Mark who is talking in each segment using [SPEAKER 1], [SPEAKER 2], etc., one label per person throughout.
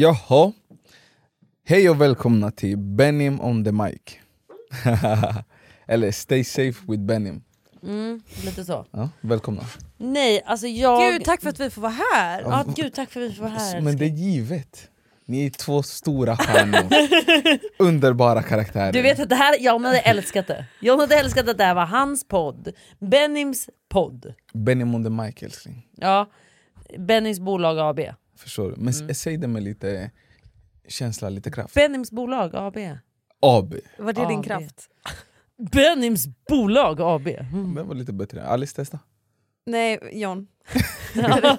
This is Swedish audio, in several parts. [SPEAKER 1] Jaha. Hej och välkomna till Benim on the mic. Eller Stay safe with Benim.
[SPEAKER 2] Mm, lite så.
[SPEAKER 1] Ja, välkomna.
[SPEAKER 2] Nej, alltså jag...
[SPEAKER 3] Gud, tack för att vi får vara här!
[SPEAKER 2] ja, Alltså, gud tack för att vi får vara här.
[SPEAKER 1] Men det är givet. Ni är två stora stjärnor. Underbara karaktärer.
[SPEAKER 2] Du vet att det här, John hade älskat det. John hade älskat att det här var hans podd. Benims podd.
[SPEAKER 1] Benim on the mic älskling.
[SPEAKER 2] Ja, Benims bolag AB.
[SPEAKER 1] Förstår du? Men
[SPEAKER 2] Mm.
[SPEAKER 1] s- säg det med lite känsla, lite kraft.
[SPEAKER 2] Benims bolag AB.
[SPEAKER 1] AB.
[SPEAKER 3] Var det
[SPEAKER 2] Ja,
[SPEAKER 3] din
[SPEAKER 2] det-
[SPEAKER 3] kraft?
[SPEAKER 2] Benims bolag Mm. AB.
[SPEAKER 1] Det var lite bättre. Alice testa.
[SPEAKER 3] Nej, John.
[SPEAKER 2] Ja.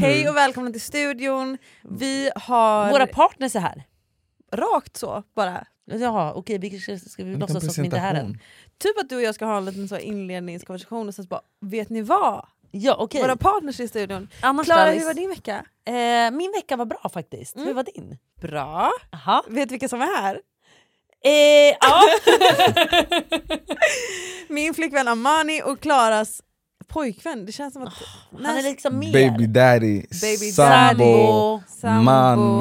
[SPEAKER 3] Hej och välkomna till studion. Vi har...
[SPEAKER 2] Våra partners är här.
[SPEAKER 3] Rakt så bara.
[SPEAKER 2] Jaha, okej, vi kanske ska vi
[SPEAKER 1] En
[SPEAKER 2] låtsas
[SPEAKER 1] liten
[SPEAKER 2] som att vi inte är här än?
[SPEAKER 1] presentation.
[SPEAKER 3] Typ att du och jag ska ha en liten så inledningskonversation och sen så bara, vet ni vad?
[SPEAKER 2] Ja, okej.
[SPEAKER 3] Våra partners i studion.
[SPEAKER 2] Annars då,
[SPEAKER 3] Klara,
[SPEAKER 2] Alice?
[SPEAKER 3] hur var din vecka?
[SPEAKER 2] Eh, min vecka var bra faktiskt. Hur var din?
[SPEAKER 3] Bra.
[SPEAKER 2] Aha.
[SPEAKER 3] Vet vilka som är här?
[SPEAKER 2] Eh, ja.
[SPEAKER 3] Min flickvän Amani och Klaras pojkvän. Det känns som att...
[SPEAKER 2] Han är liksom mer.
[SPEAKER 1] Baby daddy,
[SPEAKER 3] Baby
[SPEAKER 1] sambo.
[SPEAKER 2] Sambo.
[SPEAKER 3] sambo.
[SPEAKER 1] man.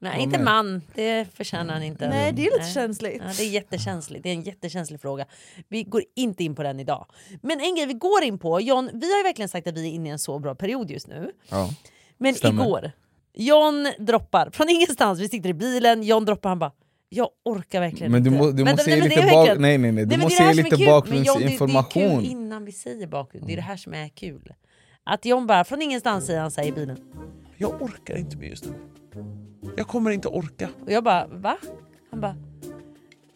[SPEAKER 2] Nej,
[SPEAKER 1] Vad
[SPEAKER 2] inte
[SPEAKER 1] mer?
[SPEAKER 2] man. Det förtjänar han inte.
[SPEAKER 3] Nej, det är lite känsligt.
[SPEAKER 2] Ja, det är jättekänsligt. Det är en jättekänslig fråga. Vi går inte in på den idag. Men en grej vi går in på. John, vi har ju verkligen sagt att vi är inne i en så bra period just nu.
[SPEAKER 1] Ja.
[SPEAKER 2] Men
[SPEAKER 1] Stämmer.
[SPEAKER 2] igår, John droppar från ingenstans. Vi sitter i bilen, John droppar, han bara “jag orkar verkligen
[SPEAKER 1] Men du,
[SPEAKER 2] inte”.
[SPEAKER 1] må, du
[SPEAKER 2] Vänta,
[SPEAKER 1] måste
[SPEAKER 2] nej,
[SPEAKER 1] ge
[SPEAKER 2] men det
[SPEAKER 1] lite,
[SPEAKER 2] är
[SPEAKER 1] bak,
[SPEAKER 2] verkligen-
[SPEAKER 1] nej, nej, nej. Du
[SPEAKER 2] Nej, men det
[SPEAKER 1] måste
[SPEAKER 2] är det
[SPEAKER 1] ge
[SPEAKER 2] här som är
[SPEAKER 1] lite
[SPEAKER 2] kul. Men John, det, det är kul
[SPEAKER 1] bakgrundsinformation.
[SPEAKER 2] innan vi säger bakgrund. Det är det här som är kul. Att John bara, från ingenstans säger han så här i bilen.
[SPEAKER 4] Jag orkar inte mer just nu. Jag kommer inte orka.
[SPEAKER 2] Och jag bara “va?” Han bara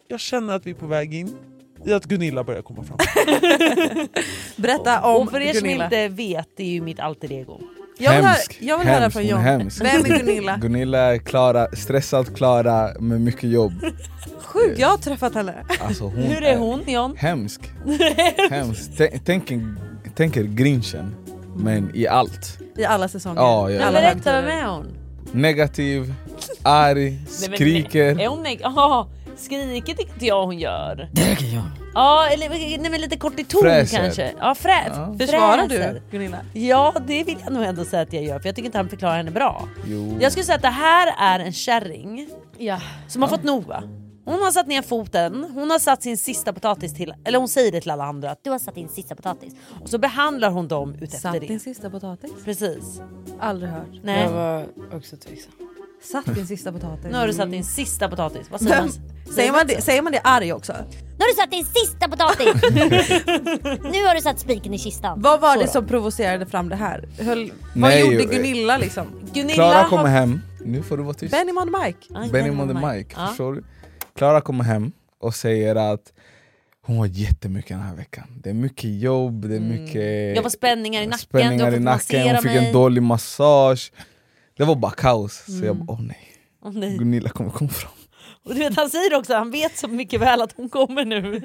[SPEAKER 4] Jag känner att vi är på väg in i att Gunilla börjar komma fram.
[SPEAKER 3] Berätta om
[SPEAKER 2] Och för er som
[SPEAKER 3] Gunilla.
[SPEAKER 2] inte vet, det är ju mitt alter ego.
[SPEAKER 3] Jag vill, höra,
[SPEAKER 1] Hemsk,
[SPEAKER 3] jag vill höra
[SPEAKER 1] hemsk,
[SPEAKER 3] från
[SPEAKER 1] hon är
[SPEAKER 3] John.
[SPEAKER 1] hemsk.
[SPEAKER 3] Vem är Gunilla?
[SPEAKER 1] Gunilla är Klara, stressad Klara med mycket jobb.
[SPEAKER 3] Sjukt, jag har träffat henne.
[SPEAKER 1] Alltså hon
[SPEAKER 2] Hur är hon John?
[SPEAKER 1] Hemsk. hemsk. Tänk, tänk, en- tänk er grinchen, men i allt.
[SPEAKER 3] I alla säsonger.
[SPEAKER 1] Ja, ja,
[SPEAKER 3] I
[SPEAKER 1] ja.
[SPEAKER 3] alla
[SPEAKER 2] Berätta,
[SPEAKER 3] högtider.
[SPEAKER 2] vem är hon?
[SPEAKER 1] Negativ, arg,
[SPEAKER 2] Nej, men-
[SPEAKER 1] skriker.
[SPEAKER 2] Är hon neg- Ja, skriker tycker inte jag hon gör. Det kan jag. Ja, eller nej, men lite kort i ton
[SPEAKER 1] Fräser.
[SPEAKER 2] kanske. Ja, frä,
[SPEAKER 1] Ja.
[SPEAKER 3] Försvarar
[SPEAKER 2] fräser.
[SPEAKER 3] du Gunilla?
[SPEAKER 2] Ja, det vill jag nog ändå säga att jag gör, för jag tycker inte han förklarar henne bra.
[SPEAKER 1] Jo.
[SPEAKER 2] Jag skulle säga att det här är en kärring
[SPEAKER 3] Ja.
[SPEAKER 2] som har fått nog va? Hon har satt ner foten, hon har satt sin sista potatis till, eller hon säger det till alla andra att du har satt din sista potatis. Och så behandlar hon dem utefter
[SPEAKER 3] Satt din
[SPEAKER 2] det.
[SPEAKER 3] sista potatis?
[SPEAKER 2] Precis.
[SPEAKER 3] Aldrig hört.
[SPEAKER 2] Nej.
[SPEAKER 5] var också tveksam.
[SPEAKER 3] Satt din sista potatis?
[SPEAKER 2] Nu har du satt din sista potatis. Vad
[SPEAKER 1] Mm.
[SPEAKER 2] säger man?
[SPEAKER 3] Säger man, det, säger man det arg också?
[SPEAKER 6] Nu har du satt din sista potatis! nu har du satt spiken i kistan.
[SPEAKER 3] Vad var
[SPEAKER 2] Så
[SPEAKER 3] det
[SPEAKER 2] då.
[SPEAKER 3] som provocerade fram det här? Höll,
[SPEAKER 1] Nej,
[SPEAKER 3] vad gjorde
[SPEAKER 1] eh,
[SPEAKER 3] Gunilla liksom?
[SPEAKER 2] Gunilla
[SPEAKER 1] Klara
[SPEAKER 2] har-
[SPEAKER 1] kommer hem. Nu får du vara tyst.
[SPEAKER 3] Benny Ah. on Mike?
[SPEAKER 2] Aj,
[SPEAKER 1] Benny on the mic.
[SPEAKER 2] Ja.
[SPEAKER 1] Förstår du? Klara kommer hem och säger att hon har jättemycket den här veckan. Det är mycket jobb,
[SPEAKER 3] Mm.
[SPEAKER 1] det är mycket...
[SPEAKER 2] Jag får spänningar i nacken, du
[SPEAKER 1] spänningar
[SPEAKER 2] har
[SPEAKER 1] i
[SPEAKER 2] fått
[SPEAKER 1] nacken,
[SPEAKER 2] massera
[SPEAKER 1] hon fick
[SPEAKER 2] mig.
[SPEAKER 1] en dålig massage. Det var bara kaos. Så
[SPEAKER 2] Mm.
[SPEAKER 1] jag bara, åh nej,
[SPEAKER 2] Åh, nej.
[SPEAKER 1] Gunilla kommer komma fram.
[SPEAKER 2] Och du vet, han säger också, han vet så mycket väl att hon kommer nu.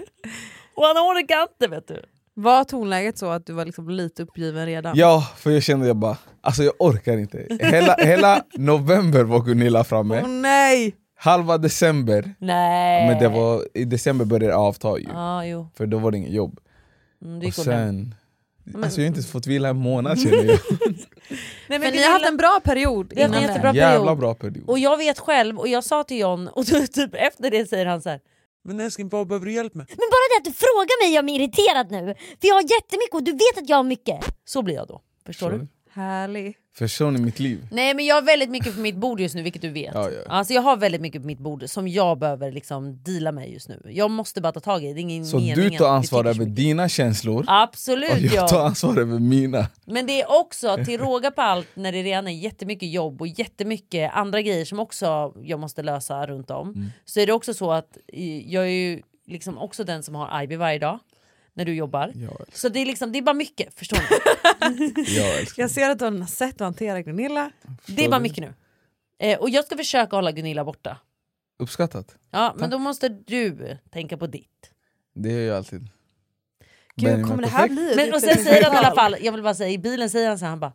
[SPEAKER 2] Och han orkar inte vet du.
[SPEAKER 3] Var tonläget så att du var liksom lite uppgiven redan?
[SPEAKER 1] Ja, för jag kände jag bara, alltså jag orkar inte. Hela, hela november var Gunilla
[SPEAKER 3] Åh
[SPEAKER 2] Mm.
[SPEAKER 1] framme,
[SPEAKER 3] nej!
[SPEAKER 1] halva december,
[SPEAKER 2] Nej.
[SPEAKER 1] men det var, i december började det avta ju.
[SPEAKER 2] Eh. Ja, jo.
[SPEAKER 1] För då var det inget jobb.
[SPEAKER 2] Mm, du
[SPEAKER 1] Och
[SPEAKER 2] gick sen...
[SPEAKER 1] sen, alltså jag har inte ens fått vila en månad känner jag.
[SPEAKER 3] Nej, men
[SPEAKER 2] För
[SPEAKER 3] ni
[SPEAKER 2] Gunilla-
[SPEAKER 3] har haft en bra period
[SPEAKER 2] Vi har
[SPEAKER 3] innan
[SPEAKER 2] haft en
[SPEAKER 3] det.
[SPEAKER 2] jättebra
[SPEAKER 1] Jävla
[SPEAKER 2] period.
[SPEAKER 1] bra period.
[SPEAKER 2] Och jag vet själv, och jag sa till John, och typ efter det säger han så här.
[SPEAKER 4] Men älskling, vad behöver du hjälp med?
[SPEAKER 6] Men bara det att du frågar mig gör mig irriterad nu. För jag har jättemycket och du vet att jag har mycket.
[SPEAKER 2] Så blir jag då. Förstår du?
[SPEAKER 3] Härlig.
[SPEAKER 1] Förstår ni mitt liv?
[SPEAKER 2] Nej men jag har väldigt mycket på mitt bord just nu vilket du vet.
[SPEAKER 1] Ja, ja.
[SPEAKER 2] Alltså jag har väldigt mycket på mitt bord som jag behöver liksom deala med just nu. Jag måste bara ta tag i det, det är ingen
[SPEAKER 1] Så
[SPEAKER 2] mening
[SPEAKER 1] du
[SPEAKER 2] att vi
[SPEAKER 1] tar ansvar
[SPEAKER 2] tycker så
[SPEAKER 1] över
[SPEAKER 2] mycket.
[SPEAKER 1] dina känslor och
[SPEAKER 2] Absolut
[SPEAKER 1] jag
[SPEAKER 2] ja.
[SPEAKER 1] tar ansvar över mina.
[SPEAKER 2] Men det är också till råga på allt när det redan är jättemycket jobb och jättemycket andra grejer som också jag måste lösa runt om. Så är det också så att eh, jag är ju liksom också den som har IB varje dag när du jobbar.
[SPEAKER 1] Ja,
[SPEAKER 2] Så det är liksom, det är bara mycket, förstår ni?
[SPEAKER 1] jag älskar.
[SPEAKER 3] Jag ser att du har några sätt att hantera Gunilla.
[SPEAKER 2] Det är bara mycket nu. Eh, och jag ska försöka hålla Gunilla borta.
[SPEAKER 1] Uppskattat.
[SPEAKER 2] Ja, men då måste du tänka på ditt.
[SPEAKER 1] Det gör jag alltid. Benjamin
[SPEAKER 3] Gud, kommer det
[SPEAKER 1] är
[SPEAKER 3] här
[SPEAKER 1] perfekt.
[SPEAKER 3] bli ett
[SPEAKER 2] Men, och sen
[SPEAKER 3] riktigt
[SPEAKER 2] säger han i
[SPEAKER 3] samtal?
[SPEAKER 2] alla fall, jag vill bara säga, i bilen säger han så här, han bara,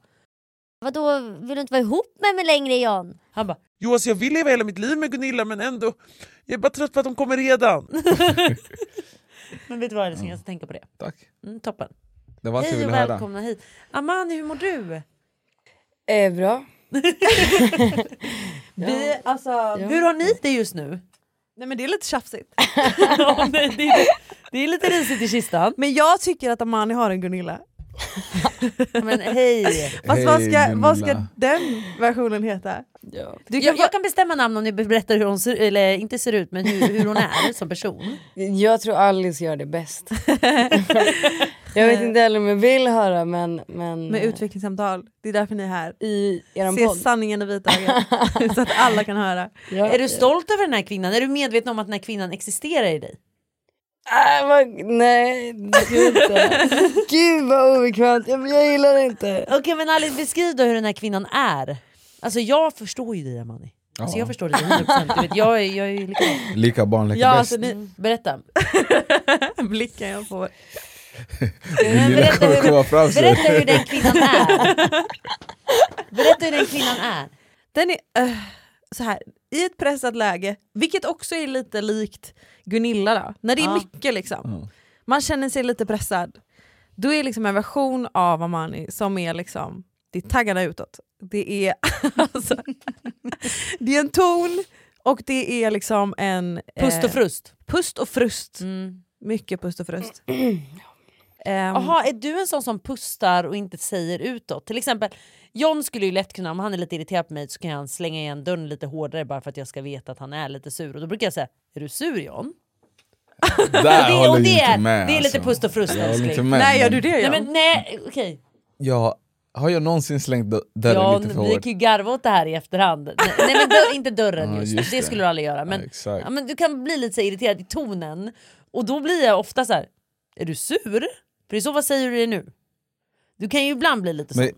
[SPEAKER 6] Vadå, vill du inte vara ihop med mig längre John?
[SPEAKER 2] han bara
[SPEAKER 4] Jo, alltså jag vill leva hela mitt liv med Gunilla men ändå, jag är bara trött på att hon kommer redan.
[SPEAKER 2] men vet du vad älskling, jag ska tänka på det.
[SPEAKER 1] Tack.
[SPEAKER 2] Mm, toppen.
[SPEAKER 1] Det var allt jag
[SPEAKER 2] Hej
[SPEAKER 1] ville
[SPEAKER 2] och
[SPEAKER 1] höra.
[SPEAKER 2] välkomna hit. Amani, hur mår du?
[SPEAKER 5] Eh, bra.
[SPEAKER 3] Vi, alltså,
[SPEAKER 2] Hur har ni det just nu?
[SPEAKER 3] Nej men det är lite tjafsigt.
[SPEAKER 2] Ja, nej, det, är, det är lite risigt i kistan.
[SPEAKER 3] Men jag tycker att Amani har en Gunilla.
[SPEAKER 2] Men hej!
[SPEAKER 3] Fast vad, ska,
[SPEAKER 1] Hej,
[SPEAKER 3] vad ska
[SPEAKER 1] Gunilla.
[SPEAKER 3] den versionen heta? Du kan
[SPEAKER 2] Jag,
[SPEAKER 3] bara-
[SPEAKER 2] jag kan bestämma namn om ni berättar hur hon ser eller inte ser ut men hur, hur hon är som person.
[SPEAKER 5] Jag tror Alice gör det bäst. jag vet inte heller om jag vill höra men... men
[SPEAKER 3] Med utvecklingssamtal, det är därför ni är här.
[SPEAKER 5] I eran
[SPEAKER 3] Se
[SPEAKER 5] podd.
[SPEAKER 3] sanningen i vitögat så att alla kan höra.
[SPEAKER 5] Ja.
[SPEAKER 2] Är du stolt över den här kvinnan? Är du medveten om att den här kvinnan existerar i dig?
[SPEAKER 5] Äh, vad, nej, det ska jag inte. Gud vad obekvämt, jag, jag gillar det inte.
[SPEAKER 2] Okej men Alice beskriv då hur den här kvinnan är. Alltså jag förstår ju dig Amani. Alltså,
[SPEAKER 1] Ja.
[SPEAKER 2] jag förstår dig 100%. Du vet, jag, är- jag är ju likadan.
[SPEAKER 1] Lika barn leka bäst.
[SPEAKER 3] Ja, alltså, ni,
[SPEAKER 2] Berätta.
[SPEAKER 3] blicken jag får.
[SPEAKER 1] Min lilla
[SPEAKER 2] berätta
[SPEAKER 1] kommer
[SPEAKER 2] hur-
[SPEAKER 1] komma fram sen.
[SPEAKER 2] Berätta hur den kvinnan är. Berätta hur den kvinnan är.
[SPEAKER 3] Den är eh, så här i ett pressat läge, vilket också är lite likt Gunilla då, när det är
[SPEAKER 2] Ja.
[SPEAKER 3] mycket liksom. Man känner sig lite pressad. Då är liksom en version av Amani som är liksom, det är taggarna utåt. Det är alltså, det är en ton och det är liksom en eh,
[SPEAKER 2] Pust och frust.
[SPEAKER 3] pust och frust.
[SPEAKER 2] Mm.
[SPEAKER 3] Mycket pust och frust. Ehm,
[SPEAKER 1] Mm.
[SPEAKER 2] Jaha, är du en sån som pustar och inte säger utåt? Till exempel, John skulle ju lätt kunna, om han är lite irriterad på mig så kan han slänga igen dörren lite hårdare bara för att jag ska veta att han är lite sur. Och då brukar jag säga, är du sur John?
[SPEAKER 1] Där
[SPEAKER 2] det,
[SPEAKER 1] håller
[SPEAKER 2] och
[SPEAKER 1] jag
[SPEAKER 2] det,
[SPEAKER 1] inte
[SPEAKER 2] är,
[SPEAKER 1] med.
[SPEAKER 2] det är lite
[SPEAKER 1] alltså.
[SPEAKER 2] pust och frust
[SPEAKER 1] Jag håller inte
[SPEAKER 2] älskling.
[SPEAKER 1] med.
[SPEAKER 3] nej gör
[SPEAKER 1] men-
[SPEAKER 3] du det
[SPEAKER 2] Nej
[SPEAKER 3] John?
[SPEAKER 2] men nej, okej.
[SPEAKER 1] Ja, har jag någonsin slängt dö- dörren
[SPEAKER 2] John,
[SPEAKER 1] lite för
[SPEAKER 2] vi
[SPEAKER 1] hårt?
[SPEAKER 2] kan ju garva åt det här i efterhand. Nej, nej men dörr, inte dörren
[SPEAKER 1] Ja,
[SPEAKER 2] just,
[SPEAKER 1] just
[SPEAKER 2] det.
[SPEAKER 1] det.
[SPEAKER 2] skulle du aldrig göra. Men,
[SPEAKER 1] ja, exakt.
[SPEAKER 2] ja, men du kan bli lite så här irriterad i tonen och då blir jag ofta så här. är du sur? För i så fall säger du det nu. Du kan ju ibland bli lite så.
[SPEAKER 1] Men,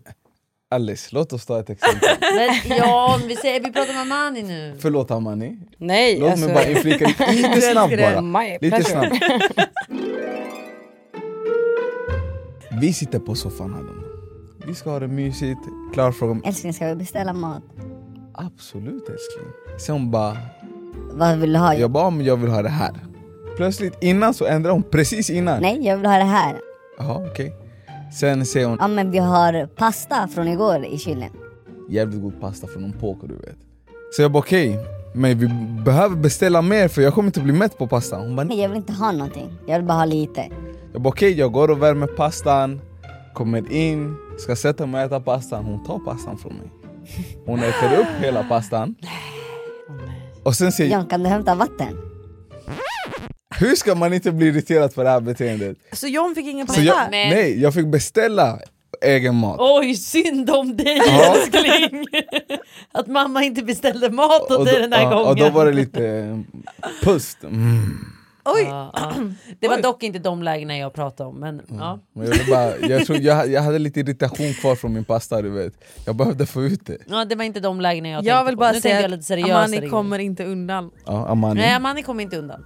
[SPEAKER 1] Alice, låt oss ta ett exempel.
[SPEAKER 2] Men ja, om vi, säger, vi pratar om Mani nu.
[SPEAKER 1] Förlåt Amani,
[SPEAKER 5] Nej
[SPEAKER 1] låt
[SPEAKER 5] alltså.
[SPEAKER 1] mig bara inflika lite, lite snabbt bara.
[SPEAKER 5] My
[SPEAKER 1] Lite
[SPEAKER 5] pleasure.
[SPEAKER 1] snabbt. Vi sitter på soffan här nu. Vi ska ha det mysigt. Klara frågar mig,
[SPEAKER 6] Älskling, ska vi beställa mat?
[SPEAKER 1] absolut älskling. Sen hon bara,
[SPEAKER 6] Vad vill du ha?
[SPEAKER 1] jag bara, men jag vill ha det här. Plötsligt innan så ändrar hon, precis innan.
[SPEAKER 6] Nej, jag vill ha det här.
[SPEAKER 1] Jaha, okej. Sen säger hon,
[SPEAKER 6] Ja, men vi har pasta från igår i kylen.
[SPEAKER 1] jävligt god pasta från någon påko du vet. Så jag bara okej, men vi behöver beställa mer för jag kommer inte bli mätt på pasta. Hon bara, "Nej."
[SPEAKER 6] Men jag vill inte ha någonting. Jag vill bara ha lite.
[SPEAKER 1] jag bara okej, jag går och värmer pastan, kommer in, ska sätta mig och äta pastan. Hon tar pastan från mig. Hon äter upp hela pastan. Och sen säger jag,
[SPEAKER 6] John, kan du hämta vatten?
[SPEAKER 1] hur ska man inte bli irriterad för det här beteendet?
[SPEAKER 3] Så alltså, John fick ingen
[SPEAKER 1] Så
[SPEAKER 3] pasta?
[SPEAKER 1] jag,
[SPEAKER 2] Men-
[SPEAKER 1] nej, jag fick beställa egen mat.
[SPEAKER 2] Oj, synd om dig
[SPEAKER 1] Ja.
[SPEAKER 2] älskling! Att mamma inte beställde mat åt
[SPEAKER 1] Och
[SPEAKER 2] dig
[SPEAKER 1] då,
[SPEAKER 2] den här
[SPEAKER 1] ja,
[SPEAKER 2] gången.
[SPEAKER 1] och då var det lite eh, pust. Mm.
[SPEAKER 3] Oj!
[SPEAKER 2] Ja, ja. Det var dock inte de lägena jag pratade om. Men,
[SPEAKER 1] Mm.
[SPEAKER 2] ja.
[SPEAKER 1] Men jag, ville bara, jag, tror, jag, jag hade lite irritation kvar från min pasta du vet. Jag behövde få ut det.
[SPEAKER 2] Ja, det var inte de lägena jag,
[SPEAKER 3] Jag
[SPEAKER 2] tänkte
[SPEAKER 3] vill
[SPEAKER 2] på.
[SPEAKER 3] bara
[SPEAKER 2] nu tänkte
[SPEAKER 3] säga
[SPEAKER 2] jag lite
[SPEAKER 3] att
[SPEAKER 2] seriösare
[SPEAKER 3] Amani
[SPEAKER 2] grejer.
[SPEAKER 3] kommer inte undan.
[SPEAKER 1] Ja, Amani.
[SPEAKER 2] Nej, Amani kommer inte undan.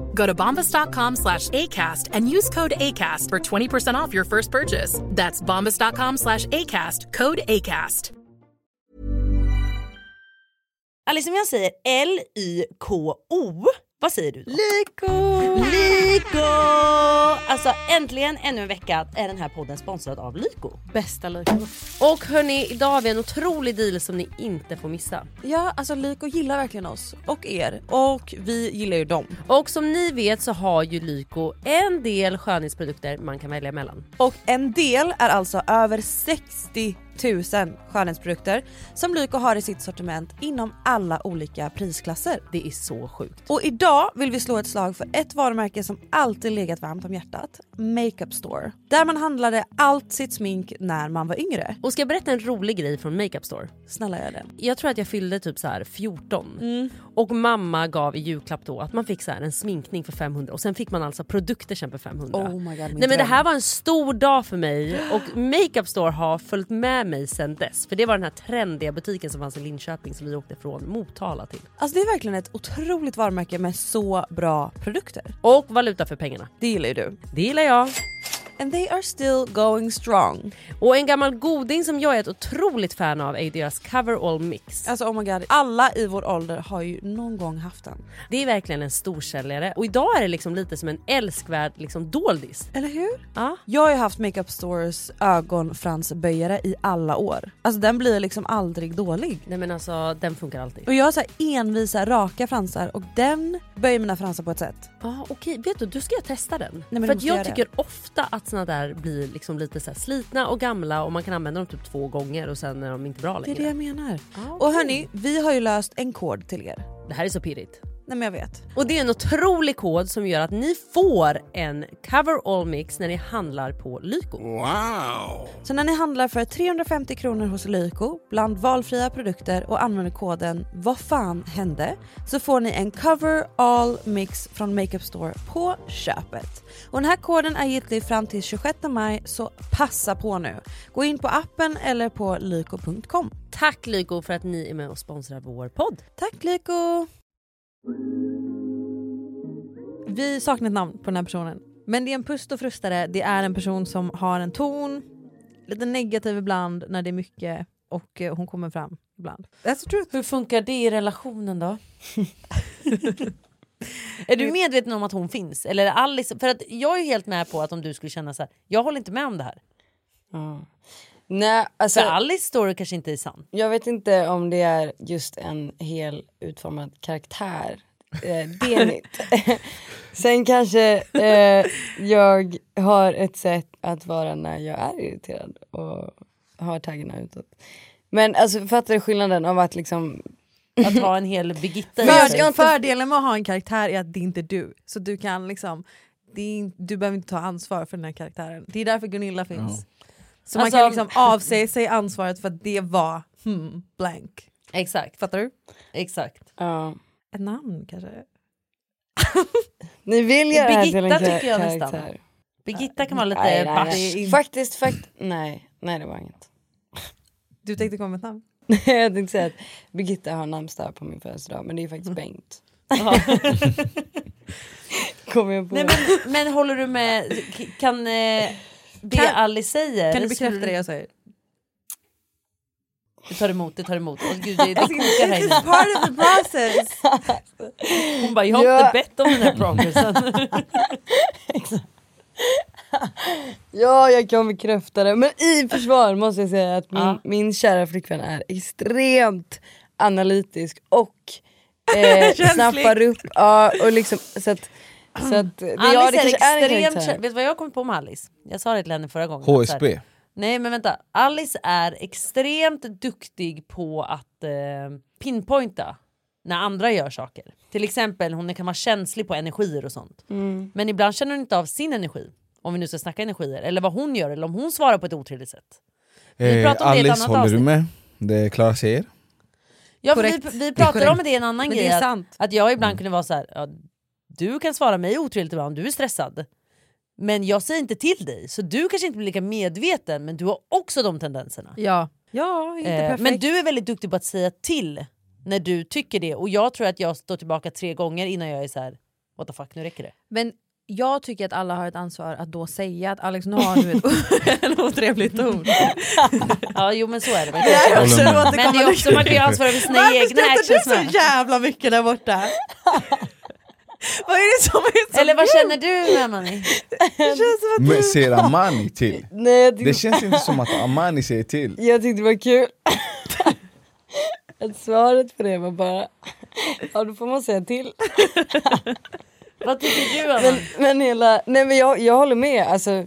[SPEAKER 7] Go to bombas.com slash ACAST and use code ACAST for 20% off your first purchase. That's bombas.com slash ACAST, code ACAST.
[SPEAKER 2] Alice, om jag säger L-Y-K-O, vad säger du då?
[SPEAKER 3] Liko!
[SPEAKER 2] Lyko! Alltså äntligen ännu en vecka är den här podden sponsrad av Lyko.
[SPEAKER 8] Bästa Lyko. Och hörni, idag har vi en otrolig deal som ni inte får missa.
[SPEAKER 3] Ja, alltså Lyko gillar verkligen oss och er och vi gillar ju dem.
[SPEAKER 8] Och som ni vet så har ju Lyko en del skönhetsprodukter man kan välja mellan.
[SPEAKER 3] Och en del är alltså över 60 000 skönhetsprodukter som Lyko har i sitt sortiment inom alla olika prisklasser.
[SPEAKER 8] Det är så sjukt.
[SPEAKER 3] Och idag vill vi slå ett slag för ett varumärke som alltid legat varmt om hjärtat. Makeup Store. Där man handlade allt sitt smink när man var yngre.
[SPEAKER 8] Och ska jag berätta en rolig grej från Makeup Store?
[SPEAKER 3] Snälla gör det.
[SPEAKER 8] Jag tror att jag fyllde typ så här 14 och mamma gav i julklapp då att man fick så här en sminkning för 500 och sen fick man alltså produkter sen för 500.
[SPEAKER 3] Oh my God, min
[SPEAKER 8] Nej men
[SPEAKER 3] dröm.
[SPEAKER 8] det här var en stor dag för mig och Makeup Store har följt med mig sen dess. För det var den här trendiga butiken som fanns i Linköping som vi åkte från Motala till.
[SPEAKER 3] Alltså det är verkligen ett otroligt varumärke med så bra produkter.
[SPEAKER 8] Och valuta för pengarna.
[SPEAKER 3] Det gillar ju du.
[SPEAKER 8] Det gillar jag.
[SPEAKER 3] And they are still going strong.
[SPEAKER 8] Och en gammal goding som jag är ett otroligt fan av är ju deras cover all mix.
[SPEAKER 3] Alltså oh my god, alla i vår ålder har ju någon gång haft den.
[SPEAKER 8] Det är verkligen en storsäljare och idag är det liksom lite som en älskvärd liksom doldis.
[SPEAKER 3] Eller hur?
[SPEAKER 8] Ja.
[SPEAKER 3] Jag har ju haft Makeup Stores ögonfransböjare i alla år. Alltså den blir liksom aldrig dålig.
[SPEAKER 8] Nej men alltså den funkar alltid.
[SPEAKER 3] Och jag har så här envisa raka fransar och den böjer mina fransar på ett sätt.
[SPEAKER 8] Ja okej, vet du, du ska jag testa den.
[SPEAKER 3] men du
[SPEAKER 8] För att
[SPEAKER 3] måste
[SPEAKER 8] jag
[SPEAKER 3] göra det.
[SPEAKER 8] tycker ofta att såna där blir liksom lite så här slitna och gamla och man kan använda dem typ två gånger och sen är de inte bra
[SPEAKER 3] Det är
[SPEAKER 8] längre.
[SPEAKER 3] det jag menar. Och hörni, vi har ju löst en kod till er.
[SPEAKER 8] Det här är så pirrigt.
[SPEAKER 3] Nej men jag vet.
[SPEAKER 8] Och det är en otrolig kod som gör att ni får en cover all mix när ni handlar på Lyko.
[SPEAKER 3] Så när ni handlar för 350 kronor hos Lyko bland valfria produkter och använder koden Vad fan hände? Så får ni en cover all mix från Makeup Store på köpet. Och den här koden är giltig fram till 26 maj så passa på nu. Gå in på appen eller på lyko.com.
[SPEAKER 8] Tack Lyko för att ni är med och sponsrar vår podd.
[SPEAKER 3] Tack Lyko! Vi saknar ett namn på den här personen. Men det är en pust och frustare. Det är en person som har en ton, lite negativ ibland när det är mycket och eh, hon kommer fram ibland. That's the truth.
[SPEAKER 2] Hur funkar det i relationen då? är du medveten om att hon finns? Eller är det Alice? För att jag är ju helt med på att om du skulle känna så här, jag håller inte med om det här.
[SPEAKER 5] Nej, alltså,
[SPEAKER 2] För Alice story kanske inte är sann.
[SPEAKER 5] jag vet inte om det är just en hel utformad karaktär. Eh, det är mitt. Sen kanske eh, jag har ett sätt att vara när jag är irriterad och har taggarna utåt. Men alltså fattar du skillnaden av att liksom...
[SPEAKER 2] Att ha en hel Birgitta i sig.
[SPEAKER 3] För, fördelen med att ha en karaktär är att det inte är du. Så du kan liksom, det är, in- du behöver inte ta ansvar för den här karaktären. Det är därför Gunilla finns. Så
[SPEAKER 2] Alltså-
[SPEAKER 3] man kan liksom avsäga sig ansvaret för att det var hmm, blank.
[SPEAKER 2] Exakt. Fattar du? Exakt.
[SPEAKER 5] Ja.
[SPEAKER 3] Ett namn kanske?
[SPEAKER 5] Ni vill göra det här till en
[SPEAKER 2] Birgitta
[SPEAKER 5] kar-
[SPEAKER 2] tycker jag
[SPEAKER 5] karaktär.
[SPEAKER 2] nästan. Birgitta kan vara lite
[SPEAKER 5] Nej, nej,
[SPEAKER 2] bash.
[SPEAKER 5] nej. Faktiskt, fakt nej, nej det var inget.
[SPEAKER 3] Du tänkte komma med ett namn?
[SPEAKER 5] jag tänkte säga att Birgitta har namnsdag på min födelsedag men det är faktiskt
[SPEAKER 3] Mm.
[SPEAKER 5] Bengt. Kommer jag på.
[SPEAKER 2] Nej, men, men håller du med? K- Kan eh, det
[SPEAKER 3] Kan-
[SPEAKER 2] Alice säger?
[SPEAKER 3] Kan du bekräfta det jag säger?
[SPEAKER 2] Du tar emot, du tar emot. Åh gud, det, det
[SPEAKER 3] Alltså,
[SPEAKER 2] kokar här inne.
[SPEAKER 3] Part of the process!
[SPEAKER 2] Hon bara, jag har
[SPEAKER 5] Ja.
[SPEAKER 2] inte bett om den här promissen.
[SPEAKER 5] Ja jag kan bekräfta det men i försvar måste jag säga att min, min kära flickvän är extremt analytisk och eh, snappar upp. Ja, och liksom, så att, så att, det, ja, det
[SPEAKER 2] Alice
[SPEAKER 5] kanske är
[SPEAKER 2] är
[SPEAKER 5] en
[SPEAKER 2] extremt...
[SPEAKER 5] karaktär.
[SPEAKER 2] vet du vad jag kom på med Alice? Jag sa det till henne förra gången. att så här-
[SPEAKER 1] HSB.
[SPEAKER 2] Nej men vänta, Alice är extremt duktig på att eh, pinpointa när andra gör saker. Till exempel hon kan vara känslig på energier och sånt.
[SPEAKER 3] Mm.
[SPEAKER 2] Men ibland känner hon inte av sin energi. Om vi nu ska snacka energier. Eller vad hon gör eller om hon svarar på ett otrevligt sätt. Vi
[SPEAKER 1] Eh,
[SPEAKER 2] pratar om det i ett
[SPEAKER 1] Alice,
[SPEAKER 2] annat
[SPEAKER 1] håller du
[SPEAKER 2] avsnitt.
[SPEAKER 1] med? Det är Klara säger.
[SPEAKER 2] Ja, för
[SPEAKER 3] Korrekt.
[SPEAKER 2] vi, vi
[SPEAKER 3] Det är
[SPEAKER 2] pratade om
[SPEAKER 3] korrekt.
[SPEAKER 2] det i en annan
[SPEAKER 3] Men
[SPEAKER 2] grej.
[SPEAKER 3] det är
[SPEAKER 2] att-
[SPEAKER 3] sant.
[SPEAKER 2] Att jag ibland kunde vara så här, ja, du kan svara mig otrevligt ibland om du är stressad. Men jag säger inte till dig, så du kanske inte blir lika medveten men du har också de tendenserna.
[SPEAKER 3] Ja. Ja, inte
[SPEAKER 2] Eh,
[SPEAKER 3] perfekt.
[SPEAKER 2] men du är väldigt duktig på att säga till när du tycker det och jag tror att jag står tillbaka tre gånger innan jag är så här. what the fuck, nu räcker det.
[SPEAKER 3] Men jag tycker att alla har ett ansvar att då säga att Alex nu har du ett, en otrevligt ton.
[SPEAKER 2] ja jo men så är det väl.
[SPEAKER 3] Det är också
[SPEAKER 2] men det
[SPEAKER 3] återkommande-
[SPEAKER 2] är också man kan ju ansvara för sina
[SPEAKER 3] Varför
[SPEAKER 2] egna actions
[SPEAKER 3] skrattar du
[SPEAKER 2] med.
[SPEAKER 3] så jävla mycket där borta? vad är det som är så
[SPEAKER 2] Eller vad
[SPEAKER 3] mjukt?
[SPEAKER 2] känner du Mani?
[SPEAKER 3] Det känns som att
[SPEAKER 1] Men
[SPEAKER 3] du-
[SPEAKER 1] säger Amani till?
[SPEAKER 5] Nej, jag tyckte-
[SPEAKER 1] Det känns inte som att Amani säger till.
[SPEAKER 5] Jag tyckte det var kul. Att svaret på det var bara, ja då får man säga till.
[SPEAKER 2] Vad tycker du
[SPEAKER 5] Men, men hela, nej men jag, jag håller med. Alltså,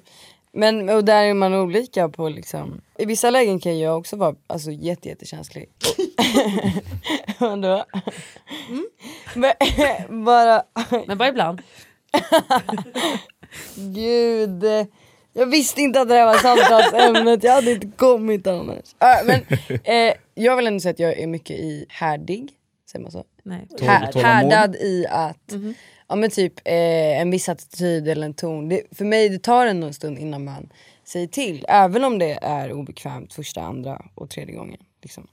[SPEAKER 5] men, och där är man olika på liksom. I vissa lägen kan jag också vara alltså, jätte, jättekänslig. Och då, men, bara,
[SPEAKER 2] men bara ibland.
[SPEAKER 5] Gud. Jag visste inte att det här var samtalsämnet, jag hade inte kommit annars. Äh, men, eh, jag vill ändå säga att jag är mycket i härdig, säger man så?
[SPEAKER 3] Nej.
[SPEAKER 2] Typ
[SPEAKER 1] Tål-
[SPEAKER 5] Här,
[SPEAKER 1] tålamod.
[SPEAKER 5] härdad i att,
[SPEAKER 3] Mhm.
[SPEAKER 5] ja men typ eh, en viss attityd eller en ton. Det, för mig det tar ändå en stund innan man säger till. Även om det är obekvämt första, andra och tredje gången. Liksom.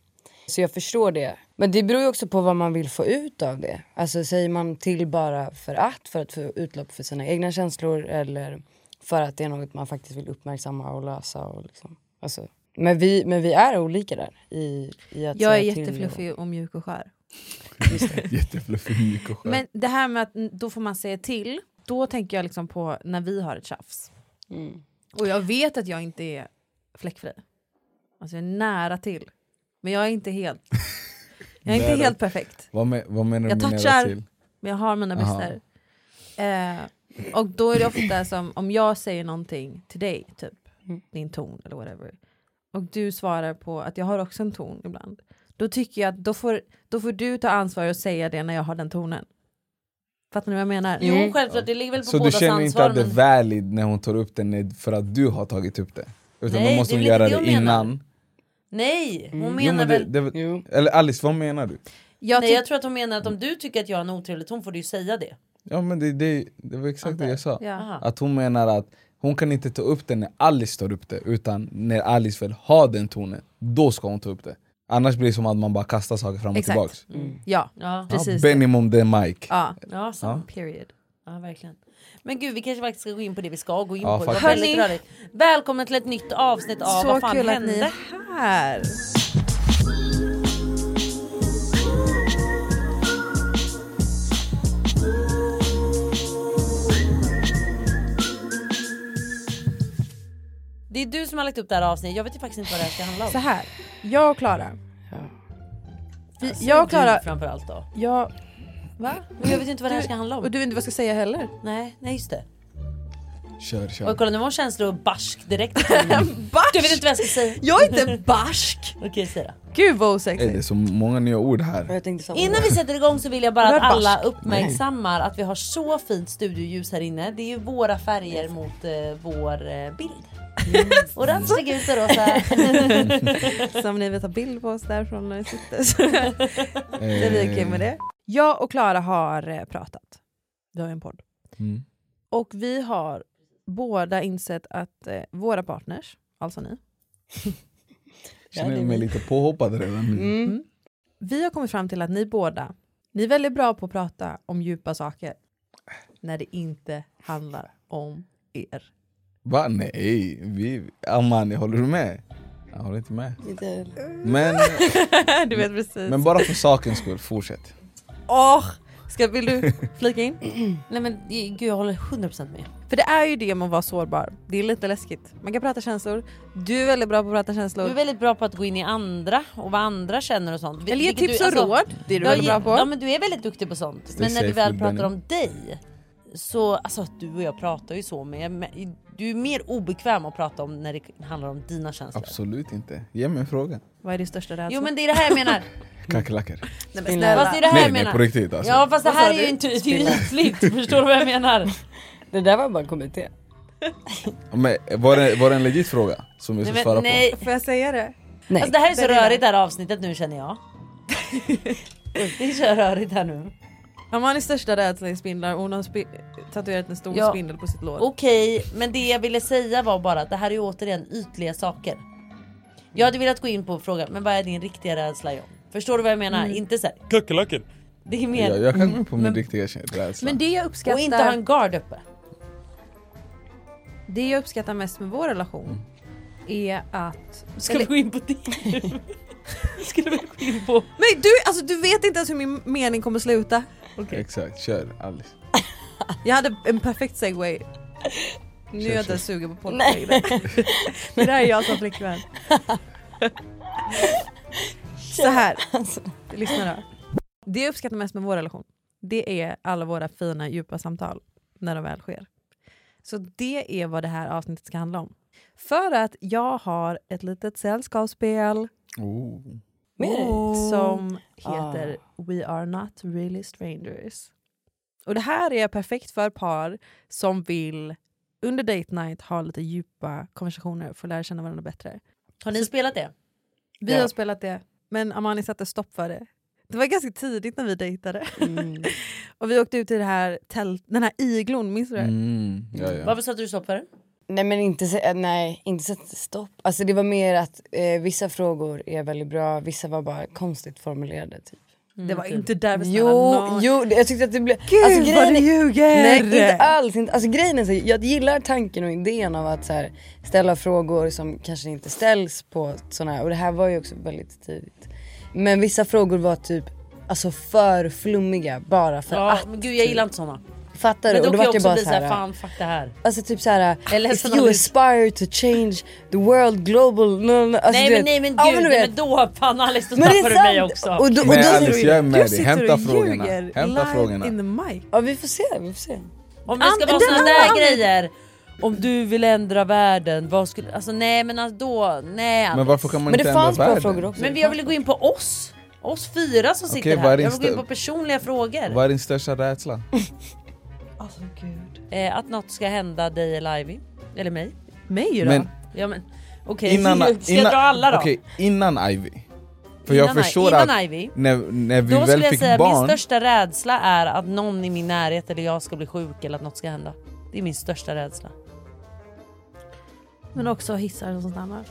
[SPEAKER 5] Så jag förstår det. Men det beror ju också på vad man vill få ut av det. Alltså säger man till bara för att, för att få utlopp för sina egna känslor eller för att det är något man faktiskt vill uppmärksamma och lösa. Och liksom. alltså, men, vi, men vi är olika där i, i att
[SPEAKER 3] Jag är
[SPEAKER 5] säga till och-
[SPEAKER 3] jättefluffig och mjuk och skär.
[SPEAKER 1] Jättefluffig, mjuk och skön.
[SPEAKER 3] Men det här med att n- då får man säga till, då tänker jag liksom på när vi har ett tjafs.
[SPEAKER 5] Mm.
[SPEAKER 3] Och jag vet att jag inte är fläckfri. Alltså jag är nära till. Men jag är inte helt, jag är
[SPEAKER 1] Nära.
[SPEAKER 3] inte helt perfekt.
[SPEAKER 1] Vad, me- vad menar du
[SPEAKER 3] Jag
[SPEAKER 1] med nära
[SPEAKER 3] touchar,
[SPEAKER 1] till?
[SPEAKER 3] men jag har mina
[SPEAKER 1] Aha.
[SPEAKER 3] brister. Eh, och då är det ofta som om jag säger någonting till dig, typ
[SPEAKER 2] Mm.
[SPEAKER 3] din ton eller whatever. Och du svarar på att jag har också en ton ibland. Då tycker jag att då får, då får du ta ansvar och säga det när jag har den tonen. Fattar ni vad jag menar? Mm.
[SPEAKER 2] Jo självklart, det ligger
[SPEAKER 1] Mm.
[SPEAKER 2] väl på
[SPEAKER 1] Så du
[SPEAKER 2] bådas
[SPEAKER 1] känner inte
[SPEAKER 2] ansvar.
[SPEAKER 1] att det är
[SPEAKER 2] men-
[SPEAKER 1] valid när hon tar upp det när- för att du har tagit upp det? Utan
[SPEAKER 2] Nej,
[SPEAKER 1] då måste
[SPEAKER 2] det är
[SPEAKER 1] hon
[SPEAKER 2] väl
[SPEAKER 1] göra
[SPEAKER 2] inte
[SPEAKER 1] det
[SPEAKER 2] det jag menar.
[SPEAKER 1] innan.
[SPEAKER 2] Nej, hon
[SPEAKER 1] Mm. Jo,
[SPEAKER 2] menar
[SPEAKER 1] men
[SPEAKER 2] väl...
[SPEAKER 1] det, det, var- Eller Alice, vad menar du?
[SPEAKER 3] Jag
[SPEAKER 2] Nej
[SPEAKER 3] tyck-
[SPEAKER 2] jag tror att hon menar att om du tycker att jag är en otrevlig ton får du ju säga det.
[SPEAKER 1] Ja men det, det, det var exakt det jag sa.
[SPEAKER 2] Ja. Aha.
[SPEAKER 1] Att hon menar att hon kan inte ta upp det när Alice tar upp det utan när Alice väl har den tonen, då ska hon ta upp det. Annars blir det som att man bara kastar saker fram och
[SPEAKER 3] Exakt.
[SPEAKER 1] tillbaks.
[SPEAKER 3] Mm. Ja,
[SPEAKER 2] Mm. Ja.
[SPEAKER 1] Ja,
[SPEAKER 3] precis.
[SPEAKER 1] Benny mom the mic.
[SPEAKER 3] Ja.
[SPEAKER 2] Ja, sant.
[SPEAKER 3] Period.
[SPEAKER 2] Ja, verkligen. Men gud, vi kanske faktiskt ska gå in på det vi ska gå in
[SPEAKER 1] Ja,
[SPEAKER 2] på. Det var
[SPEAKER 1] faktiskt.
[SPEAKER 2] väldigt
[SPEAKER 3] Hörni.
[SPEAKER 2] rörigt. Välkommen till ett nytt avsnitt av
[SPEAKER 3] Så
[SPEAKER 2] Vad fan
[SPEAKER 3] kul att
[SPEAKER 2] hände?
[SPEAKER 3] ni är här.
[SPEAKER 2] Det är du som har lagt upp det här avsnittet. Jag vet ju faktiskt inte vad det här ska handla om.
[SPEAKER 3] Så här, jag och Klara. Vi,
[SPEAKER 2] Säg
[SPEAKER 3] jag och Klara...
[SPEAKER 2] Du framförallt då.
[SPEAKER 3] Jag... Va?
[SPEAKER 2] Men jag vet ju inte vad det här
[SPEAKER 3] Du-
[SPEAKER 2] ska handla om.
[SPEAKER 3] Och du vet inte vad jag ska säga heller.
[SPEAKER 2] Nej, nej just det.
[SPEAKER 1] Kör, kör.
[SPEAKER 2] Och kolla nu var hon känslor barsk direkt. Du vet inte vad jag ska säga.
[SPEAKER 3] Jag är inte barsk!
[SPEAKER 2] Okej, säg då.
[SPEAKER 3] Gud vad
[SPEAKER 1] Ey, det är
[SPEAKER 3] osexigt.
[SPEAKER 1] så många nya ord här.
[SPEAKER 2] Innan vi sätter igång så vill jag bara
[SPEAKER 3] Rör
[SPEAKER 2] att alla
[SPEAKER 3] barsk.
[SPEAKER 2] uppmärksammar att vi har så fint studioljus här inne. Det är ju våra färger mot eh, vår eh, bild. Orange, gult och rosa.
[SPEAKER 3] Så om ni vill ta bild på oss därifrån när ni sitter så är vi okej med det. Jag och Klara har eh, pratat. Vi har ju en podd.
[SPEAKER 1] Mm.
[SPEAKER 3] Och vi har båda insett att eh, våra partners, alltså ni,
[SPEAKER 1] Känner mig lite påhoppad redan nu.
[SPEAKER 3] Mm. Vi har kommit fram till att ni båda, ni är väldigt bra på att prata om djupa saker när det inte handlar om er.
[SPEAKER 1] Va? Nej, vi... Amani, håller du med? Jag håller inte med.
[SPEAKER 5] Inte jag heller.
[SPEAKER 1] Men,
[SPEAKER 3] du vet precis.
[SPEAKER 1] men bara för sakens skull, fortsätt.
[SPEAKER 3] Åh, ska, vill du flika in?
[SPEAKER 2] Nej men gud jag håller 100% med.
[SPEAKER 3] För det är ju det med att vara sårbar. Det är lite läskigt. Man kan prata känslor. Du är väldigt bra på att prata känslor.
[SPEAKER 2] Du är väldigt bra på att gå in i andra och vad andra känner och sånt.
[SPEAKER 3] Eller ge
[SPEAKER 2] Vilket
[SPEAKER 3] tips
[SPEAKER 2] du-
[SPEAKER 3] och
[SPEAKER 2] alltså,
[SPEAKER 3] råd. Det är du
[SPEAKER 2] ja,
[SPEAKER 3] väldigt
[SPEAKER 2] ge-
[SPEAKER 3] bra på.
[SPEAKER 2] Ja men du är väldigt duktig på sånt.
[SPEAKER 1] Stay
[SPEAKER 2] men när vi
[SPEAKER 1] safe
[SPEAKER 2] väl
[SPEAKER 1] with
[SPEAKER 2] pratar
[SPEAKER 1] Benny.
[SPEAKER 2] om dig så, alltså att du och jag pratar ju så men jag, men du är mer obekväm att prata om när det handlar om dina känslor.
[SPEAKER 1] Absolut inte. Ge mig en fråga.
[SPEAKER 3] Vad är din största rädsla?
[SPEAKER 2] Jo men det är det här jag menar.
[SPEAKER 1] Kackerlackor.
[SPEAKER 3] Nej, men snälla.
[SPEAKER 2] Fast det är det här
[SPEAKER 1] Nej,
[SPEAKER 2] jag
[SPEAKER 1] nej,
[SPEAKER 2] menar.
[SPEAKER 1] på riktigt alltså.
[SPEAKER 2] Ja fast det
[SPEAKER 5] Vad sa
[SPEAKER 2] här är ju
[SPEAKER 5] du?
[SPEAKER 2] inte, det är ju ytligt. Förstår du vad jag menar?
[SPEAKER 5] Det där var bara en kommentar.
[SPEAKER 1] Men, var, det, var det en legit fråga som jag
[SPEAKER 2] Nej,
[SPEAKER 1] ska
[SPEAKER 2] men,
[SPEAKER 1] svara på?
[SPEAKER 2] nej.
[SPEAKER 3] Får jag säga det?
[SPEAKER 5] Nej.
[SPEAKER 2] Alltså, det här är så
[SPEAKER 3] Det är det.
[SPEAKER 2] rörigt det här avsnittet nu känner jag. Det är så rörigt här nu.
[SPEAKER 3] Amanis största rädsla är spindlar och hon har spi- tatuerat en stor
[SPEAKER 2] Ja.
[SPEAKER 3] spindel på sitt lår.
[SPEAKER 2] Okej, men det jag ville säga var bara att det här är ju återigen ytliga saker.
[SPEAKER 5] Mm.
[SPEAKER 2] Jag hade velat gå in på och fråga, men vad är din riktiga rädsla John? Förstår du vad jag menar? Inte såhär
[SPEAKER 4] Kackerlackor.
[SPEAKER 2] Det är mer...
[SPEAKER 1] Jag, jag kan gå på min riktiga kä- rädsla.
[SPEAKER 3] Men det jag uppskattar...
[SPEAKER 2] Och inte ha en gard uppe.
[SPEAKER 3] Det jag uppskattar mest med vår relation är att...
[SPEAKER 2] Ska vi gå in på det? Skulle vi gå in på...
[SPEAKER 3] Men du, alltså, du vet inte ens hur min mening kommer sluta.
[SPEAKER 1] Alltså. Exakt, kör Alice.
[SPEAKER 3] Jag hade en perfekt segway. Nu är
[SPEAKER 1] Kör,
[SPEAKER 3] jag
[SPEAKER 1] kör.
[SPEAKER 3] inte ens sugen på podd
[SPEAKER 5] Nej.
[SPEAKER 3] längre. Det där är jag som flickvän. Så här,
[SPEAKER 1] Alltså.
[SPEAKER 3] lyssna då. Det jag uppskattar mest med vår relation, det är alla våra fina djupa samtal när de väl sker. Så det är vad det här avsnittet ska handla om. För att jag har ett litet sällskapsspel
[SPEAKER 1] Oh.
[SPEAKER 3] som heter We are not really strangers. Och det här är perfekt för par som vill under date night ha lite djupa konversationer för att lära känna varandra bättre.
[SPEAKER 2] Har ni spelat det?
[SPEAKER 3] Vi
[SPEAKER 2] Ja.
[SPEAKER 3] har spelat det, men Amani satte stopp för det. Det var ganska tidigt när vi dejtade. och vi åkte ut i det här tält, den här iglon, minns du det?
[SPEAKER 1] Mm, ja, ja.
[SPEAKER 2] Varför satte du stopp för det?
[SPEAKER 5] Nej men inte, se- eh, nej, inte sätta stopp. Alltså det var mer att eh, vissa frågor är väldigt bra, vissa var bara konstigt formulerade typ.
[SPEAKER 3] Det var inte därför
[SPEAKER 5] Jo, jo, det- jag tyckte att det blev...
[SPEAKER 3] Gud
[SPEAKER 5] alltså,
[SPEAKER 3] vad
[SPEAKER 5] grejen
[SPEAKER 3] du
[SPEAKER 5] är-
[SPEAKER 3] ljuger!
[SPEAKER 5] Nej inte alls, inte, alltså grejen är så, här, jag gillar tanken och idén av att så här, ställa frågor som kanske inte ställs på sådana här och det här var ju också väldigt tidigt. Men vissa frågor var typ alltså för flummiga bara för
[SPEAKER 2] Ja,
[SPEAKER 5] att.
[SPEAKER 2] men gud jag gillar inte såna.
[SPEAKER 5] Fattar du?
[SPEAKER 2] Men då
[SPEAKER 5] Och
[SPEAKER 2] kan
[SPEAKER 5] då
[SPEAKER 2] jag
[SPEAKER 5] vart jag
[SPEAKER 2] också
[SPEAKER 5] bara
[SPEAKER 2] bli
[SPEAKER 5] så här,
[SPEAKER 2] såhär, fan fuck det här.
[SPEAKER 5] Alltså typ såhär,
[SPEAKER 2] Eller
[SPEAKER 5] if
[SPEAKER 2] som
[SPEAKER 5] you
[SPEAKER 2] om du-
[SPEAKER 5] aspire to change the world global... No, no, alltså,
[SPEAKER 2] nej,
[SPEAKER 5] du
[SPEAKER 2] men,
[SPEAKER 5] vet.
[SPEAKER 2] nej men gud,
[SPEAKER 5] Ja, men du
[SPEAKER 2] nej,
[SPEAKER 5] vet.
[SPEAKER 2] men då fan Alice då
[SPEAKER 5] Men det är
[SPEAKER 2] tappar du mig
[SPEAKER 5] sant.
[SPEAKER 2] också.
[SPEAKER 5] Och då- och
[SPEAKER 1] Nej
[SPEAKER 5] då-
[SPEAKER 1] Alice jag är med dig,
[SPEAKER 3] sitter
[SPEAKER 1] hämta
[SPEAKER 3] och
[SPEAKER 1] frågorna.
[SPEAKER 3] ljuger
[SPEAKER 1] Hämta
[SPEAKER 3] live
[SPEAKER 1] frågorna.
[SPEAKER 3] in the mic.
[SPEAKER 5] Ja vi får se, vi får se.
[SPEAKER 2] Om det ska vara
[SPEAKER 3] An- den
[SPEAKER 2] såna
[SPEAKER 3] har
[SPEAKER 2] där
[SPEAKER 3] han-
[SPEAKER 2] grejer. Om du vill ändra världen, vad skulle... Alltså nej men alltså, då, nej Alice.
[SPEAKER 1] Men varför kan man
[SPEAKER 5] Men
[SPEAKER 1] inte
[SPEAKER 5] det
[SPEAKER 1] ändra
[SPEAKER 5] fanns bra
[SPEAKER 1] världen?
[SPEAKER 5] frågor också.
[SPEAKER 2] Men jag ville gå in på oss. Oss fyra som sitter
[SPEAKER 1] Typ. vad är
[SPEAKER 2] här.
[SPEAKER 1] din
[SPEAKER 2] Jag vill gå in
[SPEAKER 1] stö-
[SPEAKER 2] på personliga frågor.
[SPEAKER 1] Vad är din största rädsla?
[SPEAKER 2] Eh, att något ska hända dig eller Ivy. Eller mig.
[SPEAKER 3] Mig då?
[SPEAKER 1] Men-
[SPEAKER 2] Ja men okej,
[SPEAKER 1] Innan,
[SPEAKER 2] ska jag dra alla då?
[SPEAKER 1] okej, innan Ivy. För jag
[SPEAKER 2] Innan I-
[SPEAKER 1] förstår
[SPEAKER 2] innan
[SPEAKER 1] att
[SPEAKER 2] Ivy.
[SPEAKER 1] när, när vi
[SPEAKER 2] Då
[SPEAKER 1] väl
[SPEAKER 2] skulle jag
[SPEAKER 1] fick
[SPEAKER 2] säga min
[SPEAKER 1] barn,
[SPEAKER 2] största rädsla är att någon i min närhet eller jag ska bli sjuk eller att något ska hända. Det är min största rädsla.
[SPEAKER 3] Men också hissar och sånt annat.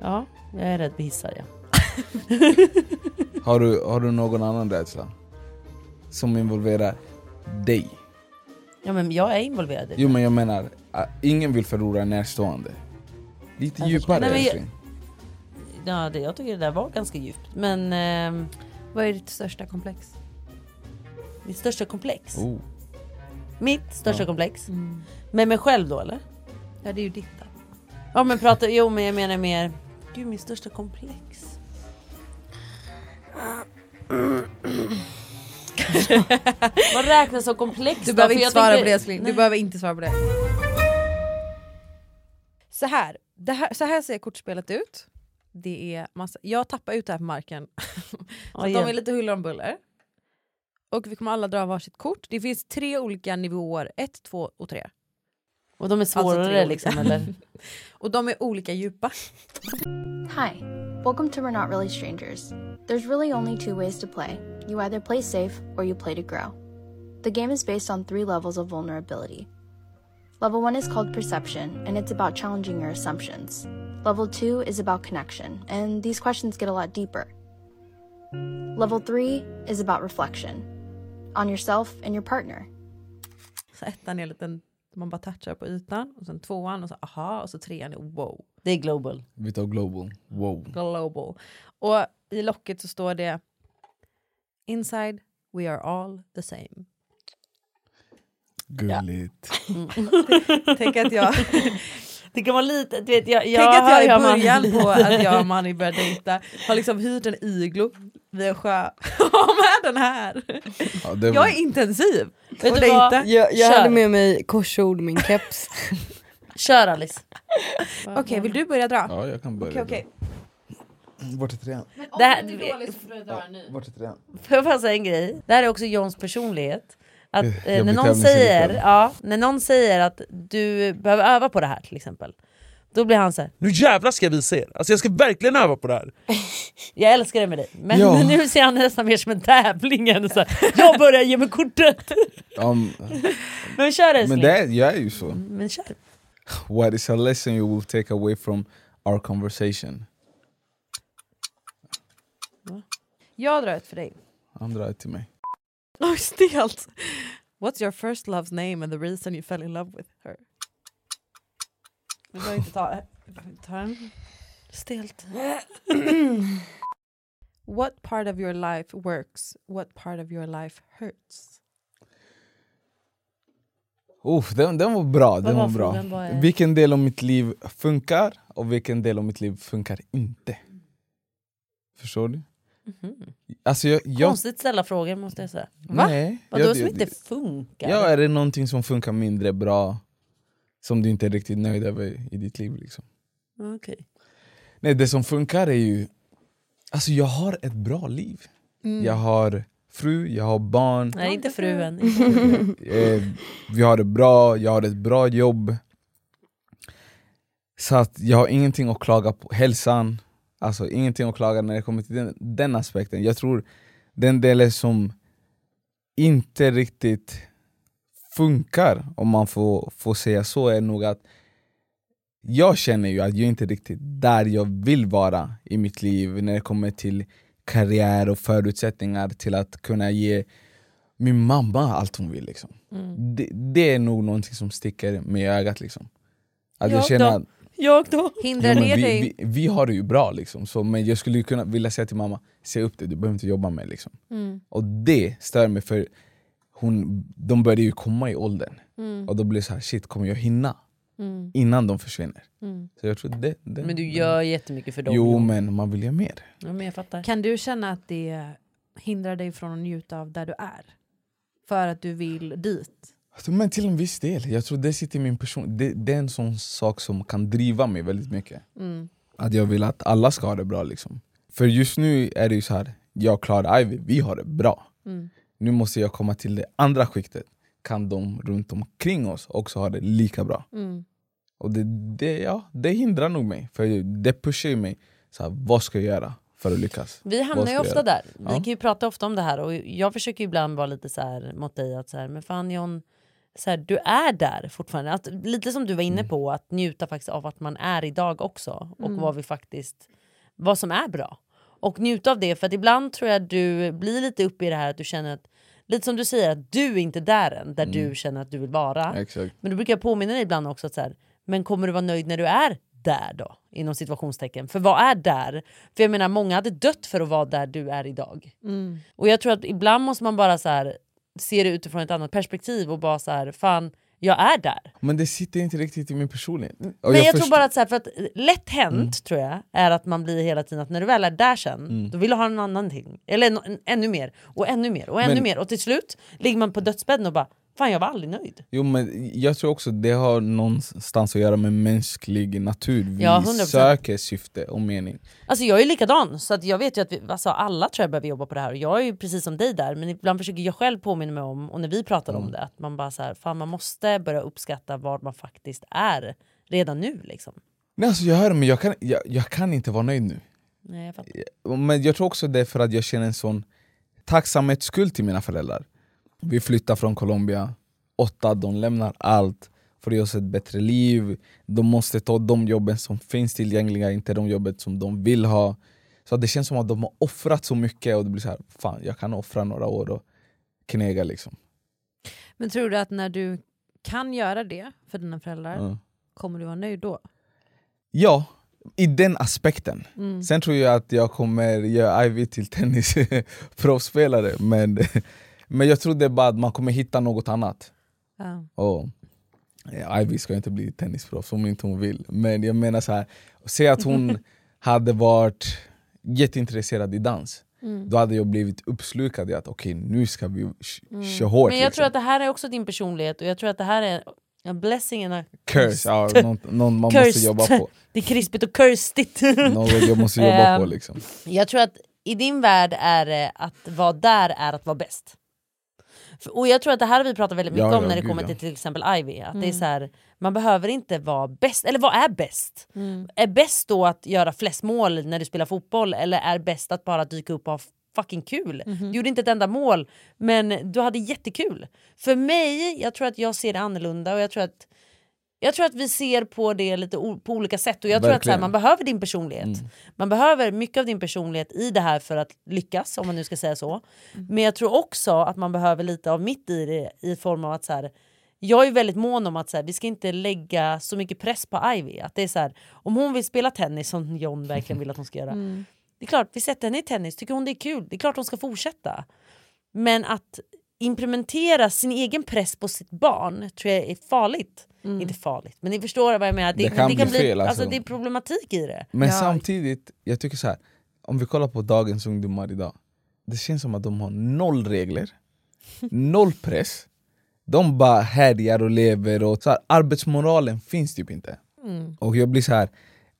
[SPEAKER 2] Ja, jag är rädd för hissar ja.
[SPEAKER 1] har, du, har du någon annan rädsla? Som involverar dig?
[SPEAKER 2] Ja men jag är involverad i det.
[SPEAKER 1] Jo men jag menar, äh, ingen vill förlora närstående. Lite djupare
[SPEAKER 2] Nej, men jag-
[SPEAKER 1] älskling.
[SPEAKER 2] Ja, det. Jag tycker det där var ganska djupt. Men ehm,
[SPEAKER 3] Vad är ditt största komplex?
[SPEAKER 2] mitt största komplex.
[SPEAKER 1] Oh.
[SPEAKER 2] Mitt största komplex. Med mig själv då eller?
[SPEAKER 3] Mm. Ja det är ju ditt då.
[SPEAKER 2] Ja men prata, jo men jag menar mer, gud min största komplex. Vad räknas som komplex
[SPEAKER 3] Du
[SPEAKER 2] då? För
[SPEAKER 3] behöver inte
[SPEAKER 2] jag
[SPEAKER 3] svara
[SPEAKER 2] tänker-
[SPEAKER 3] på det älskling. Du
[SPEAKER 2] Nej.
[SPEAKER 3] behöver inte svara på det. Så här, det här, så här ser kortspelet ut. Det är massa, jag tappar ut det här på marken. så att de
[SPEAKER 2] igen.
[SPEAKER 3] är lite huller om buller. Och vi kommer alla dra varsitt kort. Det finns tre olika nivåer. Ett, två och tre.
[SPEAKER 2] Och de är svårare
[SPEAKER 3] Alltså tre olika.
[SPEAKER 2] liksom eller?
[SPEAKER 3] Och de är olika djupa.
[SPEAKER 9] Hi, welcome to We're Not Really Strangers. There's really only two ways to play you either play safe or you play to grow. The game is based on three levels of vulnerability. Level 1 is called perception, and it's about challenging your assumptions. Level 2 is about connection, and these questions get a lot deeper. Level 3 is about reflection on yourself and your partner.
[SPEAKER 3] Så ettan är en liten, man bara touchar på ytan. Och sen tvåan och så aha. Och så trean är wow.
[SPEAKER 2] Det är global.
[SPEAKER 1] Vi tar global. Wow.
[SPEAKER 3] Global. Och i locket så står det Inside we are all the same.
[SPEAKER 1] Gulligt.
[SPEAKER 3] Tänk att jag,
[SPEAKER 2] Det kan vara lite, du vet jag,
[SPEAKER 3] tänk att jag i
[SPEAKER 2] hör man-
[SPEAKER 3] början på att jag och Manny började dejta har liksom hyrt en iglo vid en sjö. Ha med den här!
[SPEAKER 1] Ja, det
[SPEAKER 3] Jag är intensiv
[SPEAKER 2] Vet
[SPEAKER 3] och
[SPEAKER 2] du vad?
[SPEAKER 3] dejta.
[SPEAKER 5] Jag, jag
[SPEAKER 2] Mm. Kör.
[SPEAKER 5] hade med mig korsord, min keps.
[SPEAKER 2] Kör Alice.
[SPEAKER 3] Okej, vill du börja dra?
[SPEAKER 1] Ja, jag kan börja.
[SPEAKER 3] Okej,
[SPEAKER 1] då.
[SPEAKER 3] okej.
[SPEAKER 1] Vart är trean?
[SPEAKER 2] Det här,
[SPEAKER 1] Vart är trean?
[SPEAKER 2] Får jag bara säga en grej? Det här är också Johns personlighet. Att,
[SPEAKER 1] Eh,
[SPEAKER 2] eh, när,
[SPEAKER 1] jobbig
[SPEAKER 2] någon
[SPEAKER 1] tävlingsinriktad.
[SPEAKER 2] säger, ja, när någon säger att du behöver öva på det här till exempel. Då blir han så här,
[SPEAKER 4] Nu jävlar ska jag visa er. Alltså jag ska verkligen öva på det här.
[SPEAKER 2] jag älskar det med dig. Men
[SPEAKER 1] Ja.
[SPEAKER 2] nu ser han nästan mer som en tävling än så här, jag börjar ge mig kortet.
[SPEAKER 1] Ja, men-
[SPEAKER 2] Men kör älskling.
[SPEAKER 1] men det är, jag är ju så.
[SPEAKER 2] Men kör.
[SPEAKER 1] What is a lesson you will take away from our conversation?
[SPEAKER 3] Jag drar ett för dig.
[SPEAKER 1] Han drar till mig.
[SPEAKER 3] Oj, stelt. What's your first love's name and the reason you fell in love with her? Vi behöver inte ta, ta den. Stelt. What part of your life works? What part of your life hurts?
[SPEAKER 1] Uff, den, den var bra. Den
[SPEAKER 2] var
[SPEAKER 1] var bra.
[SPEAKER 2] frågan? Vad är-
[SPEAKER 1] Vilken del av mitt liv funkar och vilken del av mitt liv funkar inte? Förstår du?
[SPEAKER 2] Mhm.
[SPEAKER 1] Alltså jag, jag,
[SPEAKER 2] Konstigt ställa frågor måste jag säga.
[SPEAKER 1] Va? Nej,
[SPEAKER 2] Vadå
[SPEAKER 1] jag-
[SPEAKER 2] som
[SPEAKER 1] jag-
[SPEAKER 2] inte funkar?
[SPEAKER 1] ja, är det någonting som funkar mindre bra som du inte är riktigt nöjd över i ditt liv? Liksom?
[SPEAKER 2] Okej.
[SPEAKER 1] Nej, det som funkar är ju... Alltså jag har ett bra liv.
[SPEAKER 2] Mm.
[SPEAKER 1] Jag har fru, jag har barn.
[SPEAKER 2] Nej, inte fruen.
[SPEAKER 1] Eh, vi har det bra, jag har ett bra jobb. Så att jag har ingenting att klaga på. Hälsan, alltså ingenting att klaga när det kommer till den, den aspekten. Jag tror den delen som inte riktigt funkar, om man får, får säga så, är nog att jag känner ju att jag inte riktigt där jag vill vara i mitt liv när det kommer till karriär och förutsättningar till att kunna ge min mamma allt hon vill. Liksom.
[SPEAKER 2] Mm.
[SPEAKER 1] Det, det är nog någonting som sticker mig i ögat. Liksom. Att jag,
[SPEAKER 2] Jag
[SPEAKER 1] känner
[SPEAKER 2] då?
[SPEAKER 1] att
[SPEAKER 2] Jag då?
[SPEAKER 1] jo, men vi, vi, vi har det ju bra, liksom. så, men jag skulle ju kunna vilja säga till mamma, se upp det, du behöver inte jobba med liksom.
[SPEAKER 2] Mm.
[SPEAKER 1] Och det stör mig för hon, de börjar ju komma i åldern.
[SPEAKER 2] Mm.
[SPEAKER 1] Och då blir det så här, shit kommer jag hinna?
[SPEAKER 2] Mm.
[SPEAKER 1] Innan de försvinner.
[SPEAKER 2] Mm.
[SPEAKER 1] Så jag tror det, det,
[SPEAKER 2] Men du gör jättemycket för dem.
[SPEAKER 1] Jo men man vill ju mer.
[SPEAKER 2] Ja, men jag fattar.
[SPEAKER 3] Kan du känna att det hindrar dig från att njuta av där du är? För att du vill dit?
[SPEAKER 1] Alltså, Men till en viss del. Jag tror det sitter i min person. Det, det är en sån sak som kan driva mig väldigt mycket.
[SPEAKER 3] Mm.
[SPEAKER 1] Att jag vill att alla ska ha det bra liksom. För just nu är det ju så här, jag klarar Ivy, vi har det bra.
[SPEAKER 3] Mm.
[SPEAKER 1] Nu måste jag komma till det andra skiktet. Kan de runt omkring oss också ha det lika bra?
[SPEAKER 3] Mm.
[SPEAKER 1] Och det, det, ja, det hindrar nog mig, för det pushar ju mig. Så här, vad ska jag göra för att lyckas?
[SPEAKER 2] Vi
[SPEAKER 1] Vad
[SPEAKER 2] hamnar
[SPEAKER 1] ska
[SPEAKER 2] ju
[SPEAKER 1] jag
[SPEAKER 2] ofta
[SPEAKER 1] göra?
[SPEAKER 2] där. Vi
[SPEAKER 1] Ja.
[SPEAKER 2] kan ju prata ofta om det här och jag försöker ju ibland vara lite så här mot dig att så här, men fan John, så här, du är där fortfarande. Att, lite som du var
[SPEAKER 1] Mm.
[SPEAKER 2] inne på, att njuta faktiskt av vart man är idag också och
[SPEAKER 8] Mm.
[SPEAKER 2] vad vi faktiskt, vad som är bra. Och njuta av det för att ibland tror jag du blir lite uppe i det här att du känner att, lite som du säger, att du är inte där än där
[SPEAKER 1] Mm.
[SPEAKER 2] du känner att du vill vara.
[SPEAKER 1] Exakt.
[SPEAKER 2] Men då brukar jag påminna dig ibland också att så här, men kommer du vara nöjd när du är där då? Inom situationstecken. För vad är där? För jag menar många hade dött för att vara där du är idag.
[SPEAKER 3] Mm.
[SPEAKER 2] Och jag tror att ibland måste man bara så här, se det utifrån ett annat perspektiv och bara så här, fan jag är där.
[SPEAKER 1] Men det sitter inte riktigt i min personlighet. Och
[SPEAKER 2] Men Mm. jag,
[SPEAKER 1] förstår-
[SPEAKER 2] tror bara att, så här, för att eh, lätt hänt
[SPEAKER 1] Mm.
[SPEAKER 2] tror jag är att man blir hela tiden att när du väl är där sen,
[SPEAKER 1] Mm.
[SPEAKER 2] då vill du ha en annan ting. Eller en, en, ännu mer och ännu mer och ännu
[SPEAKER 1] Men-
[SPEAKER 2] mer. Och till slut ligger man på dödsbädden och bara, fan jag var aldrig nöjd.
[SPEAKER 1] Jo men jag tror också det har någonstans att göra med mänsklig natur. Vi
[SPEAKER 2] Ja, 100%.
[SPEAKER 1] söker syfte och mening.
[SPEAKER 2] Alltså jag är likadan, så att jag vet ju att vi, alltså alla tror jag behöver jobba på det här. Och jag är ju precis som dig där, men ibland försöker jag själv påminna mig om, och när vi pratar om det, att man bara så här, fan man måste börja uppskatta vad man faktiskt är redan nu liksom.
[SPEAKER 1] Nej alltså jag hör det, men jag kan, jag, jag kan inte vara nöjd nu.
[SPEAKER 2] Nej, jag fattar.
[SPEAKER 1] Men jag tror också det är för att jag känner en sån tacksamhetsskuld till mina föräldrar. Vi flyttar från Colombia, åtta, de lämnar allt för att ge oss ett bättre liv. De måste ta de jobben som finns tillgängliga, inte de jobbet som de vill ha. Så det känns som att de har offrat så mycket och det blir så här, fan jag kan offra några år och knega liksom.
[SPEAKER 3] Men tror du att när du kan göra det för dina föräldrar,
[SPEAKER 1] Mm.
[SPEAKER 3] kommer du vara nöjd då?
[SPEAKER 1] Ja, i den aspekten.
[SPEAKER 3] Mm.
[SPEAKER 1] Sen tror jag att jag kommer göra Ivy till tennisproffsspelare men, men jag tror det är bara att man kommer hitta något annat.
[SPEAKER 3] Ja.
[SPEAKER 1] Och, eh, Ivy ska inte bli tennisproffs om inte hon vill. Men jag menar så här, säg att hon hade varit jätteintresserad i dans.
[SPEAKER 2] Mm.
[SPEAKER 1] Då hade jag blivit uppslukad i att okej nu ska vi sh- köra hårt.
[SPEAKER 2] Mm. men jag
[SPEAKER 1] liksom.
[SPEAKER 2] tror att det här är också din personlighet och jag tror att det här är en blessing and a
[SPEAKER 1] Curse, ja, någon, någon man måste
[SPEAKER 2] Cursed.
[SPEAKER 1] jobba på.
[SPEAKER 2] Det är krispigt och körstigt.
[SPEAKER 1] Något jag måste jobba på
[SPEAKER 2] Ehm,
[SPEAKER 1] liksom.
[SPEAKER 2] Jag tror att i din värld är det att vara där är att vara bäst. För- Och jag tror att det här har vi pratat väldigt mycket
[SPEAKER 8] Ja,
[SPEAKER 2] om
[SPEAKER 8] ja,
[SPEAKER 2] när det
[SPEAKER 8] gud,
[SPEAKER 2] kommer
[SPEAKER 8] ja.
[SPEAKER 2] till till exempel Ivy. Att det är
[SPEAKER 8] Mm.
[SPEAKER 2] så här, man behöver inte vara bäst, eller vad är bäst?
[SPEAKER 8] Mm.
[SPEAKER 2] Är bäst då att göra flest mål när du spelar fotboll eller är bäst att bara dyka upp och ha fucking kul?
[SPEAKER 8] Mhm.
[SPEAKER 2] Du gjorde inte ett enda mål men du hade jättekul. För mig, jag tror att jag ser det annorlunda och jag tror att Jag tror att vi ser på det lite o- på olika sätt och jag tror att så här,
[SPEAKER 8] Verkligen.
[SPEAKER 2] man behöver din personlighet. Man behöver mycket av din personlighet i det här för att lyckas om man nu ska säga så. Men jag tror också att man behöver lite av mitt i det i form av att så här, jag är väldigt mån om att så här, vi ska inte lägga så mycket press på Ivy. Att det är så här, om hon vill spela tennis som John verkligen vill att hon ska göra.
[SPEAKER 8] Mm.
[SPEAKER 2] Det är klart, vi sätter henne i tennis, tycker hon det är kul, det är klart hon ska fortsätta. Men att implementera sin egen press på sitt barn tror jag är farligt. Inte farligt, men ni förstår vad jag menar.
[SPEAKER 1] Det kan bli fel,
[SPEAKER 2] alltså.
[SPEAKER 1] alltså.
[SPEAKER 2] det är problematik i det.
[SPEAKER 1] Men samtidigt, jag tycker så här. om vi kollar på dagens ungdomar idag, det känns som att de har noll regler, noll press, de bara härjar och lever, och så här, arbetsmoralen finns typ inte.
[SPEAKER 3] Mm.
[SPEAKER 1] Och jag blir så här,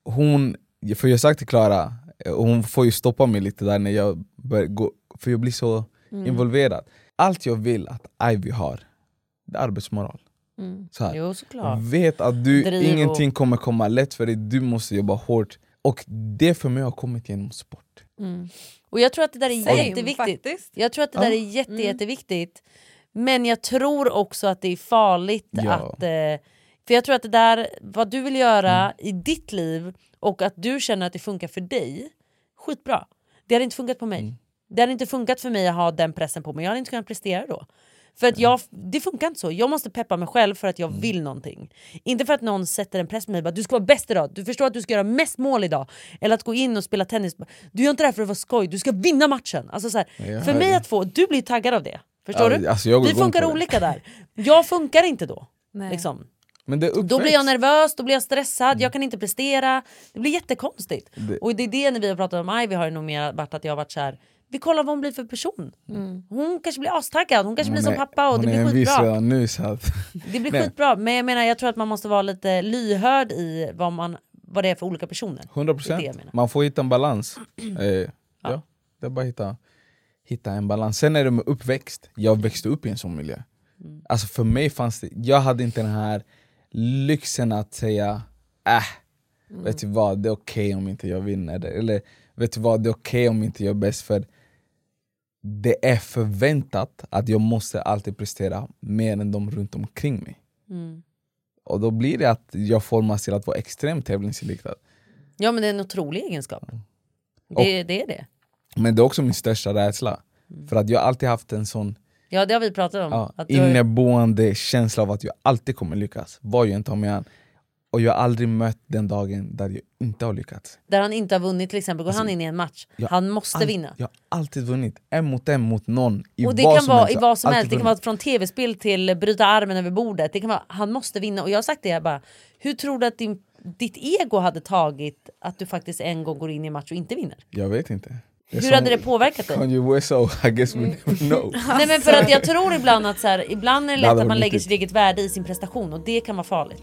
[SPEAKER 1] hon, för jag har sagt till Klara, eh, och hon får ju stoppa mig lite där när jag börjar gå, för jag blir så
[SPEAKER 3] Mm.
[SPEAKER 1] involverad. Allt jag vill att Ivy har, det är arbetsmoral.
[SPEAKER 3] Mm.
[SPEAKER 1] Så här.
[SPEAKER 2] Jo, såklart.
[SPEAKER 1] Vet att du,
[SPEAKER 2] Driv och-
[SPEAKER 1] ingenting kommer komma lätt för dig, du måste jobba hårt. Och det för mig har kommit genom sport.
[SPEAKER 2] Och jag tror att det där är
[SPEAKER 1] Same,
[SPEAKER 2] jätteviktigt. Jag tror att det där
[SPEAKER 1] Ja.
[SPEAKER 2] är jätte,
[SPEAKER 8] Mm.
[SPEAKER 2] jätteviktigt. Men jag tror också att det är farligt
[SPEAKER 8] Ja.
[SPEAKER 2] att... eh, För jag tror att det där, vad du vill göra
[SPEAKER 8] Mm.
[SPEAKER 2] i ditt liv och att du känner att det funkar för dig, skitbra. Det hade inte funkat på mig.
[SPEAKER 8] Mm.
[SPEAKER 2] Det hade inte funkat för mig att ha den pressen på mig. Jag hade inte kunnat prestera då. För att jag, det funkar inte så. Jag måste peppa mig själv för att jag
[SPEAKER 1] Mm.
[SPEAKER 2] vill någonting. Inte för att någon sätter en press på mig. Bara, du ska vara bäst idag. Du förstår att du ska göra mest mål idag. Eller att gå in och spela tennis. Du gör inte det här för att vara skoj. Du ska vinna matchen. Alltså så här,
[SPEAKER 1] Ja,
[SPEAKER 2] för mig
[SPEAKER 1] ja.
[SPEAKER 2] att få... Du blir taggad av det. Förstår
[SPEAKER 1] Ja,
[SPEAKER 2] du?
[SPEAKER 1] alltså jag går
[SPEAKER 2] Vi
[SPEAKER 1] igång
[SPEAKER 2] funkar
[SPEAKER 1] på det.
[SPEAKER 2] olika där. Jag funkar inte då. Liksom.
[SPEAKER 1] Men det är
[SPEAKER 2] Då blir jag
[SPEAKER 1] uppväxt.
[SPEAKER 2] nervös, då blir jag stressad, jag kan inte prestera. Det blir jättekonstigt.
[SPEAKER 1] Mm. Det-
[SPEAKER 2] Och det är det när vi har pratat om Ivy har det nog mer varit att jag har varit så här. vi kollar vad hon blir för person. Hon kanske blir astaggad, hon kanske blir som
[SPEAKER 1] är-
[SPEAKER 2] pappa och det
[SPEAKER 1] Hon
[SPEAKER 2] blir
[SPEAKER 1] är envis
[SPEAKER 2] skitbra.
[SPEAKER 1] redan nu så att...
[SPEAKER 2] Det blir
[SPEAKER 1] Nej,
[SPEAKER 2] skitbra, men jag menar jag tror att man måste vara lite lyhörd i vad, man, vad det är för olika personer.
[SPEAKER 1] 100
[SPEAKER 2] Det är det jag menar.
[SPEAKER 1] procent, man får hitta en balans. Eh, ja. det är bara att hitta, hitta en balans. Sen är det med uppväxt, jag växte upp i en sån miljö.
[SPEAKER 2] Mm.
[SPEAKER 1] Alltså för mig fanns det, jag hade inte den här lyxen att säga äh,
[SPEAKER 2] Mm.
[SPEAKER 1] vet du vad, det är okej om inte jag vinner. Eller vet du vad, det är okej om inte jag är bäst. För det är förväntat att jag måste alltid prestera mer än de runt omkring mig.
[SPEAKER 2] Mm.
[SPEAKER 1] Och då blir det att jag formas till att vara extremt tävlingsinriktad.
[SPEAKER 2] Ja men det är en otrolig egenskap.
[SPEAKER 1] Mm.
[SPEAKER 2] Det, det är det.
[SPEAKER 1] Men det är också min största rädsla. För att jag har alltid haft en sån
[SPEAKER 2] Mm. Ja det har vi pratat om.
[SPEAKER 1] ja,
[SPEAKER 2] att du har-
[SPEAKER 1] inneboende känsla av att jag alltid kommer lyckas, vad jag än tar mig an. Och jag har aldrig mött den dagen där jag inte har lyckats.
[SPEAKER 2] där han inte har vunnit till exempel, går
[SPEAKER 1] Alltså,
[SPEAKER 2] han in i en match,
[SPEAKER 1] jag
[SPEAKER 2] han måste
[SPEAKER 1] Allt-
[SPEAKER 2] vinna.
[SPEAKER 1] Jag har alltid vunnit, en mot en mot någon. I
[SPEAKER 2] och det
[SPEAKER 1] vad
[SPEAKER 2] kan
[SPEAKER 1] som
[SPEAKER 2] vara
[SPEAKER 1] helst.
[SPEAKER 2] i vad som
[SPEAKER 1] Alltid
[SPEAKER 2] helst, det kan vara
[SPEAKER 1] vunnit.
[SPEAKER 2] från tv-spel till bryta armen över bordet. Det kan vara, han måste vinna. Och jag har sagt det, jag bara, hur tror du att din, ditt ego hade tagit att du faktiskt en gång går in i en match och inte vinner?
[SPEAKER 1] Jag vet inte. är
[SPEAKER 2] Hur
[SPEAKER 1] som
[SPEAKER 2] hade det påverkat dig? Mm.
[SPEAKER 1] Kanye West sa, I guess we never know.
[SPEAKER 2] Nej men för att jag tror ibland att så här, ibland är det
[SPEAKER 1] Det
[SPEAKER 2] lätt
[SPEAKER 1] hade
[SPEAKER 2] att man
[SPEAKER 1] varit
[SPEAKER 2] lägger
[SPEAKER 1] nyttigt.
[SPEAKER 2] sitt eget värde i sin prestation och det kan vara farligt.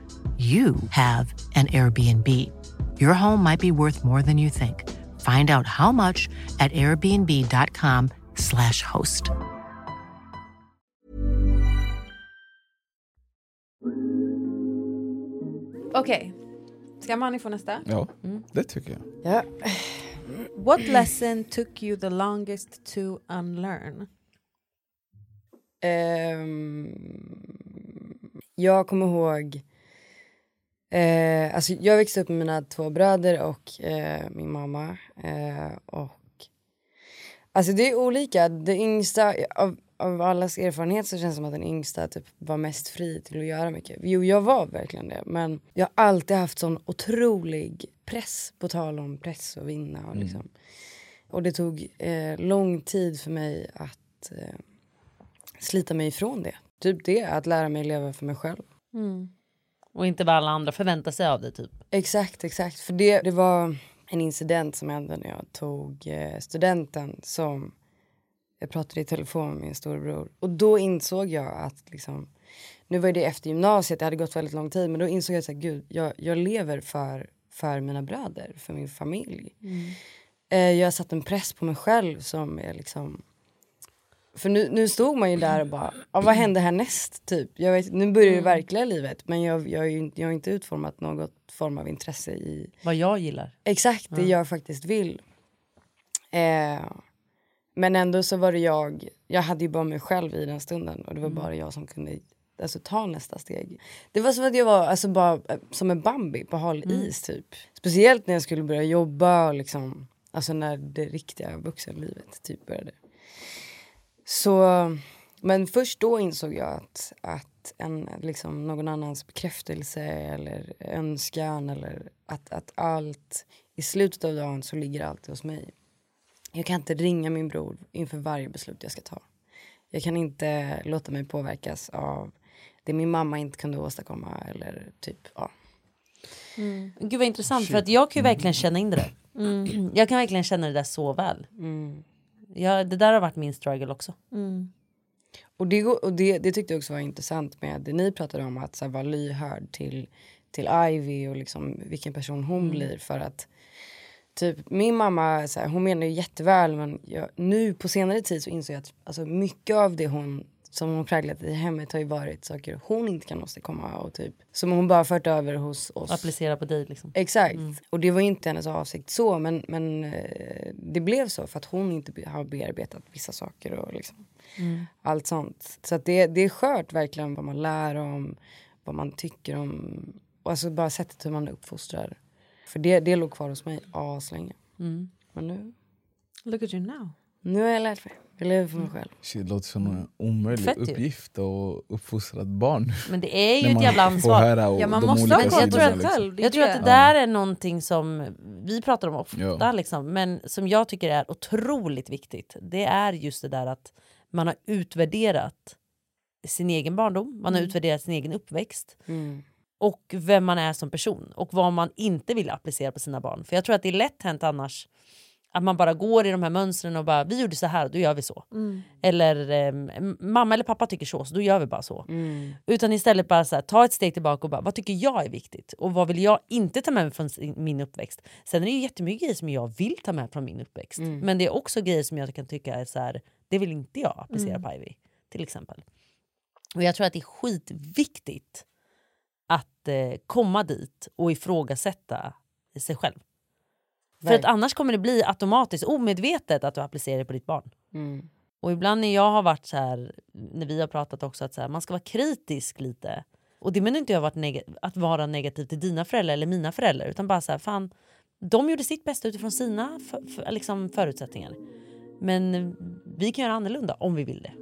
[SPEAKER 10] you have an Airbnb. Your home might be worth more than you think. Find out how much at airbnb.com/slash host.
[SPEAKER 3] Okej, ska Mani få nästa?
[SPEAKER 1] Ja,
[SPEAKER 2] Mm.
[SPEAKER 1] det tycker jag.
[SPEAKER 5] Ja.
[SPEAKER 3] What lesson took you the longest to unlearn?
[SPEAKER 5] Ehm, jag kommer ihåg... Eh, alltså jag växte upp med mina två bröder och eh, min mamma. Eh, och, alltså det är olika. Det yngsta, av, av allas erfarenhet så känns det som att den yngsta typ var mest fri till att göra mycket. Jo, jag var verkligen det. Men jag har alltid haft sån otrolig press, på tal om press och vinna. Och,
[SPEAKER 11] Mm.
[SPEAKER 5] liksom. och det tog eh, lång tid för mig att eh, slita mig ifrån det. Typ det, att lära mig leva för mig själv.
[SPEAKER 2] Och inte vad alla andra förväntar sig av dig typ.
[SPEAKER 5] Exakt, exakt. För det, det var en incident som hände när jag tog eh, studenten som jag pratade i telefon med min storebror. Och då insåg jag att liksom, nu var ju det efter gymnasiet, det hade gått väldigt lång tid, men då insåg jag att gud, jag, jag lever för, för mina bröder, för min familj. Eh, jag har satt en press på mig själv som är liksom... För nu, nu stod man ju där och bara, ah, vad hände härnäst? Typ. Jag vet, nu börjar det verkliga livet men jag, jag, är ju inte- jag har inte utformat något form av intresse i
[SPEAKER 2] Vad jag gillar.
[SPEAKER 5] exakt det
[SPEAKER 2] Ja.
[SPEAKER 5] jag faktiskt vill. Eh, men ändå så var det jag, jag hade ju bara mig själv i den stunden och det var bara jag som kunde alltså, ta nästa steg. Det var som att jag var alltså, bara, eh, som en Bambi på hal is typ. Speciellt när jag skulle börja jobba och liksom, alltså när det riktiga vuxenlivet typ började. Så, men först då insåg jag att, att en, liksom, någon annans bekräftelse eller önskan eller att, att allt, i slutet av dagen så ligger allt hos mig. Jag kan inte ringa min bror inför varje beslut jag ska ta. Jag kan inte låta mig påverkas av det min mamma inte kunde åstadkomma eller typ, ja.
[SPEAKER 2] Gud vad intressant för att jag kan ju verkligen känna in det där.
[SPEAKER 3] Mm.
[SPEAKER 2] Jag kan verkligen känna det där så väl.
[SPEAKER 5] Mm.
[SPEAKER 2] Jag, det där har varit min struggle också.
[SPEAKER 5] Och, det, går- och det, det tyckte jag också var intressant med det ni pratade om att så här, vara lyhörd till, till Ivy och liksom vilken person hon blir för att typ min mamma så här, hon menar ju jätteväl men jag, nu på senare tid så insåg jag att alltså, mycket av det hon som hon präglat i hemmet har ju varit saker hon inte kan åstadkomma och typ som hon bara fört över hos oss.
[SPEAKER 2] Applicera på dig liksom.
[SPEAKER 5] Exakt.
[SPEAKER 3] Mm.
[SPEAKER 5] Och det var inte hennes avsikt så men, men eh, det blev så för att hon inte be- har bearbetat vissa saker och liksom
[SPEAKER 3] Mm.
[SPEAKER 5] allt sånt. Så att det, det är skört verkligen vad man lär om, vad man tycker om. Och alltså bara sättet hur man uppfostrar. För det, det låg kvar hos mig aslänge.
[SPEAKER 3] Mm.
[SPEAKER 5] Men nu,
[SPEAKER 3] Look at you now.
[SPEAKER 5] nu har jag lärt mig. Jag lever för mig
[SPEAKER 3] Mm.
[SPEAKER 5] själv.
[SPEAKER 1] Shit, det låter som en omöjlig
[SPEAKER 2] Fett ju.
[SPEAKER 1] uppgift att uppfostra ett barn.
[SPEAKER 2] Men det är ju
[SPEAKER 1] När
[SPEAKER 2] ett
[SPEAKER 1] man
[SPEAKER 2] jävla
[SPEAKER 1] får
[SPEAKER 2] ansvar.
[SPEAKER 1] höra och de olika
[SPEAKER 2] Men jag tror
[SPEAKER 1] sidorna,
[SPEAKER 2] att,
[SPEAKER 1] liksom.
[SPEAKER 2] jag tror att det där är någonting som vi pratar om ofta,
[SPEAKER 1] Ja.
[SPEAKER 2] liksom, men som jag tycker är otroligt viktigt. Det är just det där att man har utvärderat sin egen barndom, man har
[SPEAKER 8] Mm.
[SPEAKER 2] utvärderat sin egen uppväxt
[SPEAKER 5] Mm.
[SPEAKER 2] och vem man är som person och vad man inte vill applicera på sina barn. För jag tror att det är lätt hänt annars att man bara går i de här mönstren och bara vi gjorde så här, då gör vi så.
[SPEAKER 3] Mm.
[SPEAKER 2] Eller ehm, mamma eller pappa tycker så, så då gör vi bara så. Utan istället bara så här, ta ett steg tillbaka och bara vad tycker jag är viktigt och vad vill jag inte ta med mig från sin- min uppväxt. Sen är det ju jättemycket grejer som jag vill ta med från min uppväxt. Men det är också grejer som jag kan tycka är så här, det vill inte jag applicera
[SPEAKER 8] Mm.
[SPEAKER 2] på Ivy till exempel. Och jag tror att det är skitviktigt att eh, komma dit och ifrågasätta sig själv. För att
[SPEAKER 8] Verkligen.
[SPEAKER 2] annars kommer det bli automatiskt, omedvetet att du applicerar det på ditt barn.
[SPEAKER 5] Mm.
[SPEAKER 2] Och ibland när jag har varit så här, när vi har pratat också att så här, man ska vara kritisk lite. Och det menar inte jag varit neg- att vara negativ till dina föräldrar eller mina föräldrar utan bara så här, fan, de gjorde sitt bästa utifrån sina för, för, liksom förutsättningar. Men vi kan göra annorlunda om vi vill det.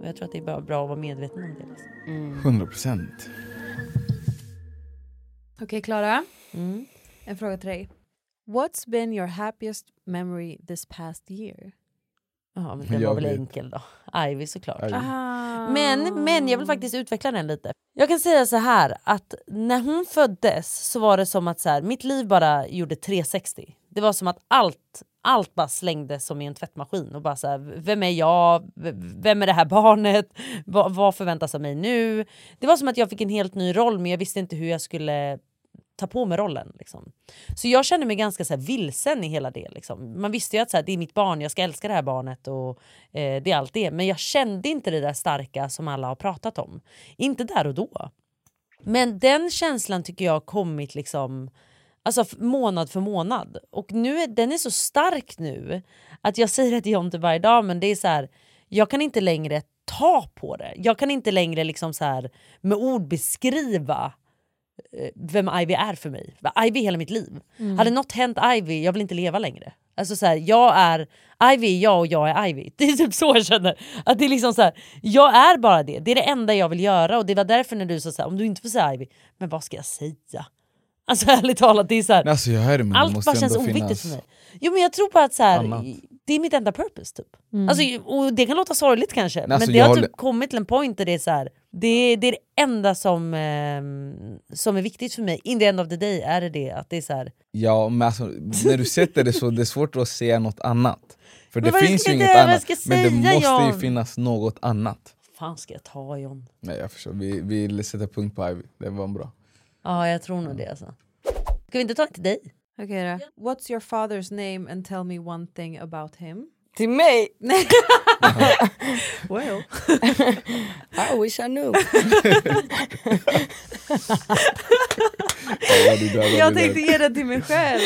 [SPEAKER 2] Och jag tror att
[SPEAKER 5] Mm.
[SPEAKER 2] det är bara bra att vara medveten om det. Liksom.
[SPEAKER 1] 100 procent.
[SPEAKER 3] Okej Klara,
[SPEAKER 2] Mm.
[SPEAKER 3] en fråga till dig. What's been your happiest memory this past year?
[SPEAKER 2] Ja, men den
[SPEAKER 3] Jag
[SPEAKER 2] var väl
[SPEAKER 3] vet.
[SPEAKER 2] enkel då. Ivy såklart.
[SPEAKER 3] Ivy. Ah.
[SPEAKER 2] Men, men jag vill faktiskt utveckla den lite. Jag kan säga så här att när hon föddes så var det som att så här, mitt liv bara gjorde 360. Det var som att allt, allt bara slängdes som i en tvättmaskin och bara så här, vem är jag? V- Vem är det här barnet? Va, vad förväntas av mig nu? Det var som att jag fick en helt ny roll men jag visste inte hur jag skulle ta på mig rollen. Liksom. Så jag kände mig ganska så här, vilsen i hela det. Liksom. Man visste ju att så här, det är mitt barn, jag ska älska det här barnet och eh, det är allt det. Men jag kände inte det där starka som alla har pratat om. Inte där och då. Men den känslan tycker jag har kommit liksom, alltså, f- månad för månad. Och nu är, den är så stark nu att jag säger det till Jonte varje dag men det är så här, jag kan inte längre ta på det. Jag kan inte längre liksom så här, med ord beskriva eh, vem Ivy är för mig. Ivy är hela mitt liv.
[SPEAKER 8] Mm.
[SPEAKER 2] Hade något hänt Ivy, jag vill inte leva längre. Alltså så här, jag är Ivy, är jag och jag är Ivy. Det är typ så jag känner. Att det är liksom så här, jag är bara det. Det är det enda jag vill göra. Och det var därför när du sa så här, om du inte får säga Ivy, men vad ska jag säga? Alltså ärligt talat, det är så här,
[SPEAKER 1] Nej, alltså, jag hör det, men det
[SPEAKER 2] allt
[SPEAKER 1] måste
[SPEAKER 2] bara
[SPEAKER 1] ju ändå
[SPEAKER 2] känns oviktigt
[SPEAKER 1] finnas
[SPEAKER 2] för mig. Jo men jag tror på att så här,
[SPEAKER 1] annat.
[SPEAKER 2] det är mitt enda purpose typ. Alltså, och det kan låta sorgligt kanske,
[SPEAKER 1] alltså,
[SPEAKER 2] men det
[SPEAKER 1] jag
[SPEAKER 2] har typ
[SPEAKER 1] håller-
[SPEAKER 2] kommit till en point där det är så här, det, det är det enda som, eh, som är viktigt för mig. In the end of the day är det det att det är så här,
[SPEAKER 1] Ja, men alltså, när du sätter det så det är svårt att säga något annat. För
[SPEAKER 2] Men
[SPEAKER 1] det
[SPEAKER 2] vad
[SPEAKER 1] finns
[SPEAKER 2] ska
[SPEAKER 1] ju
[SPEAKER 2] jag
[SPEAKER 1] inget
[SPEAKER 2] göra? Vad
[SPEAKER 1] annat.
[SPEAKER 2] ska jag
[SPEAKER 1] men det
[SPEAKER 2] säga,
[SPEAKER 1] måste ju
[SPEAKER 2] Jan?
[SPEAKER 1] finnas något annat.
[SPEAKER 2] fan ska jag ta John?
[SPEAKER 1] Nej jag förstår, vi vi vill sätta punkt på Ivy. Det var en bra.
[SPEAKER 2] Ja jag tror
[SPEAKER 1] Mm.
[SPEAKER 2] nog det alltså. Ska vi inte ta en till dig?
[SPEAKER 3] Okej då. What's your father's name and tell me one thing about him?
[SPEAKER 5] Till mig?
[SPEAKER 3] Nej. well.
[SPEAKER 5] I wish I knew.
[SPEAKER 3] Jag tänkte ge den till mig själv.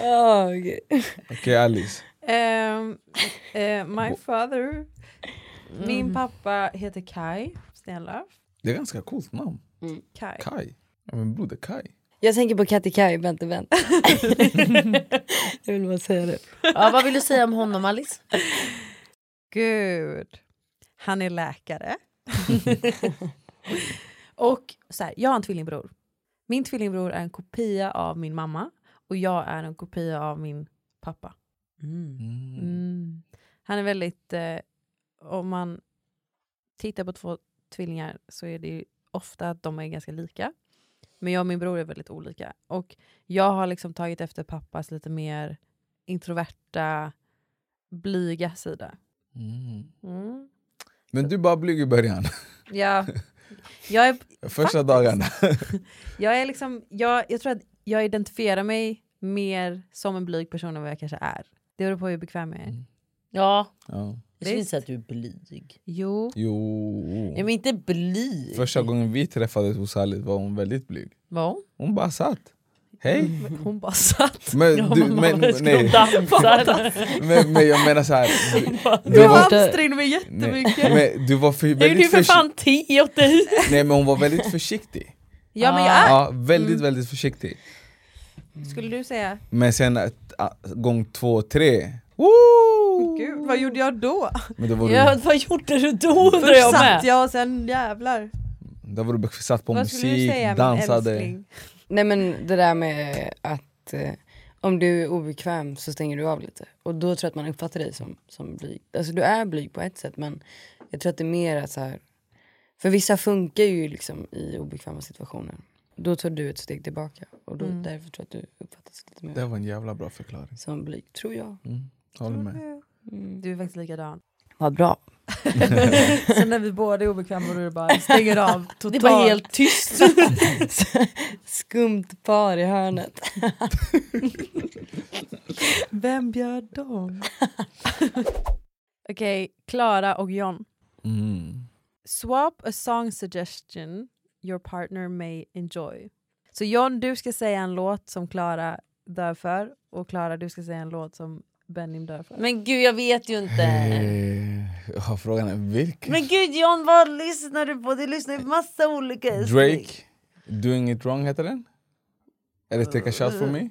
[SPEAKER 5] oh, okay.
[SPEAKER 1] Okej Alice.
[SPEAKER 3] Ehm, eh, my father. Min pappa heter Kai. Snälla.
[SPEAKER 1] Det är ganska coolt namn.
[SPEAKER 3] Kai.
[SPEAKER 1] Kai. Ja, men broder Kai.
[SPEAKER 5] Jag tänker på Katte Kaj, vänta vänta. jag vill bara säga det.
[SPEAKER 2] Ja, vad vill du säga om honom Alice?
[SPEAKER 3] Gud. Han är läkare. och så här, jag har en tvillingbror. Min tvillingbror är en kopia av min mamma och jag är en kopia av min pappa. Mm. Han är väldigt, eh, om man tittar på två tvillingar så är det ju ofta att de är ganska lika. Men jag och min bror är väldigt olika. Och jag har liksom tagit efter pappas lite mer introverta, blyga sida. Mm.
[SPEAKER 1] Men du bara blyg i början.
[SPEAKER 3] Ja. Jag, är,
[SPEAKER 1] Första dagarna.
[SPEAKER 3] jag, är liksom, jag, jag tror att jag identifierar mig mer som en blyg person än vad jag kanske är. Det beror på hur bekväm jag är.
[SPEAKER 1] Mm.
[SPEAKER 2] Ja.
[SPEAKER 1] ja.
[SPEAKER 2] Jag skulle
[SPEAKER 3] Visst.
[SPEAKER 2] inte säga att du är blyg.
[SPEAKER 3] Jo.
[SPEAKER 1] Jo.
[SPEAKER 2] Ja, men inte blyg.
[SPEAKER 1] Första gången vi träffades hos Alice var hon väldigt blyg.
[SPEAKER 2] Var hon?
[SPEAKER 1] Hon bara satt. Hej.
[SPEAKER 3] Hon bara satt.
[SPEAKER 1] Men, du, men, nej. men, men jag menar såhär. Du,
[SPEAKER 3] Jag ansträngde mig jättemycket.
[SPEAKER 1] Nej, men du var för,
[SPEAKER 2] Jag gjorde ju
[SPEAKER 1] väldigt
[SPEAKER 2] för
[SPEAKER 1] försiktig.
[SPEAKER 2] fan te åt dig.
[SPEAKER 1] Nej men hon var väldigt försiktig.
[SPEAKER 3] Ja, men jag
[SPEAKER 2] Ah.
[SPEAKER 3] är.
[SPEAKER 1] Ja, väldigt
[SPEAKER 3] Mm.
[SPEAKER 1] väldigt försiktig.
[SPEAKER 3] Skulle du säga?
[SPEAKER 1] Men sen att, ah, gång två, tre.
[SPEAKER 3] Gud, vad gjorde jag då?
[SPEAKER 1] Men då var du-
[SPEAKER 2] vad gjorde du då undrar
[SPEAKER 3] Först
[SPEAKER 2] jag
[SPEAKER 3] satt
[SPEAKER 2] med?
[SPEAKER 3] jag och sen jävlar.
[SPEAKER 1] Där var du satt på
[SPEAKER 3] Vad skulle du
[SPEAKER 1] musik,
[SPEAKER 3] säga, min
[SPEAKER 1] dansade.
[SPEAKER 3] älskling?
[SPEAKER 5] Nej men det där med att eh, om du är obekväm så stänger du av lite. Och då tror jag att man uppfattar dig som, som blyg. Alltså du är blyg på ett sätt men jag tror att det är mer att så här. För vissa funkar ju liksom i obekväma situationer. Då tar du ett steg tillbaka och då,
[SPEAKER 1] Mm.
[SPEAKER 5] därför tror jag att du uppfattas lite mer
[SPEAKER 1] Det var en jävla bra förklaring.
[SPEAKER 5] som blyg, tror jag.
[SPEAKER 1] Mm, håller med.
[SPEAKER 3] Du är faktiskt likadan.
[SPEAKER 5] Vad bra.
[SPEAKER 3] Sen när vi båda är obekväma och du bara stänger av totalt.
[SPEAKER 5] Det är bara helt
[SPEAKER 2] tyst.
[SPEAKER 5] Skumt par i hörnet.
[SPEAKER 3] Vem bjöd dem? Okej, Klara och John.
[SPEAKER 1] Mm.
[SPEAKER 3] Swap a song suggestion your partner may enjoy. Så John, du ska säga en låt som Klara dör för och Klara, du ska säga en låt som Benim dör för.
[SPEAKER 2] Men gud jag vet ju inte.
[SPEAKER 1] Eh, ja, frågan är vilken?
[SPEAKER 2] Men gud John vad lyssnar du på? Du lyssnar ju på massa olika.
[SPEAKER 1] Drake, Doing It Wrong heter den? Eller Take a Shot
[SPEAKER 2] Uh,
[SPEAKER 1] for Me?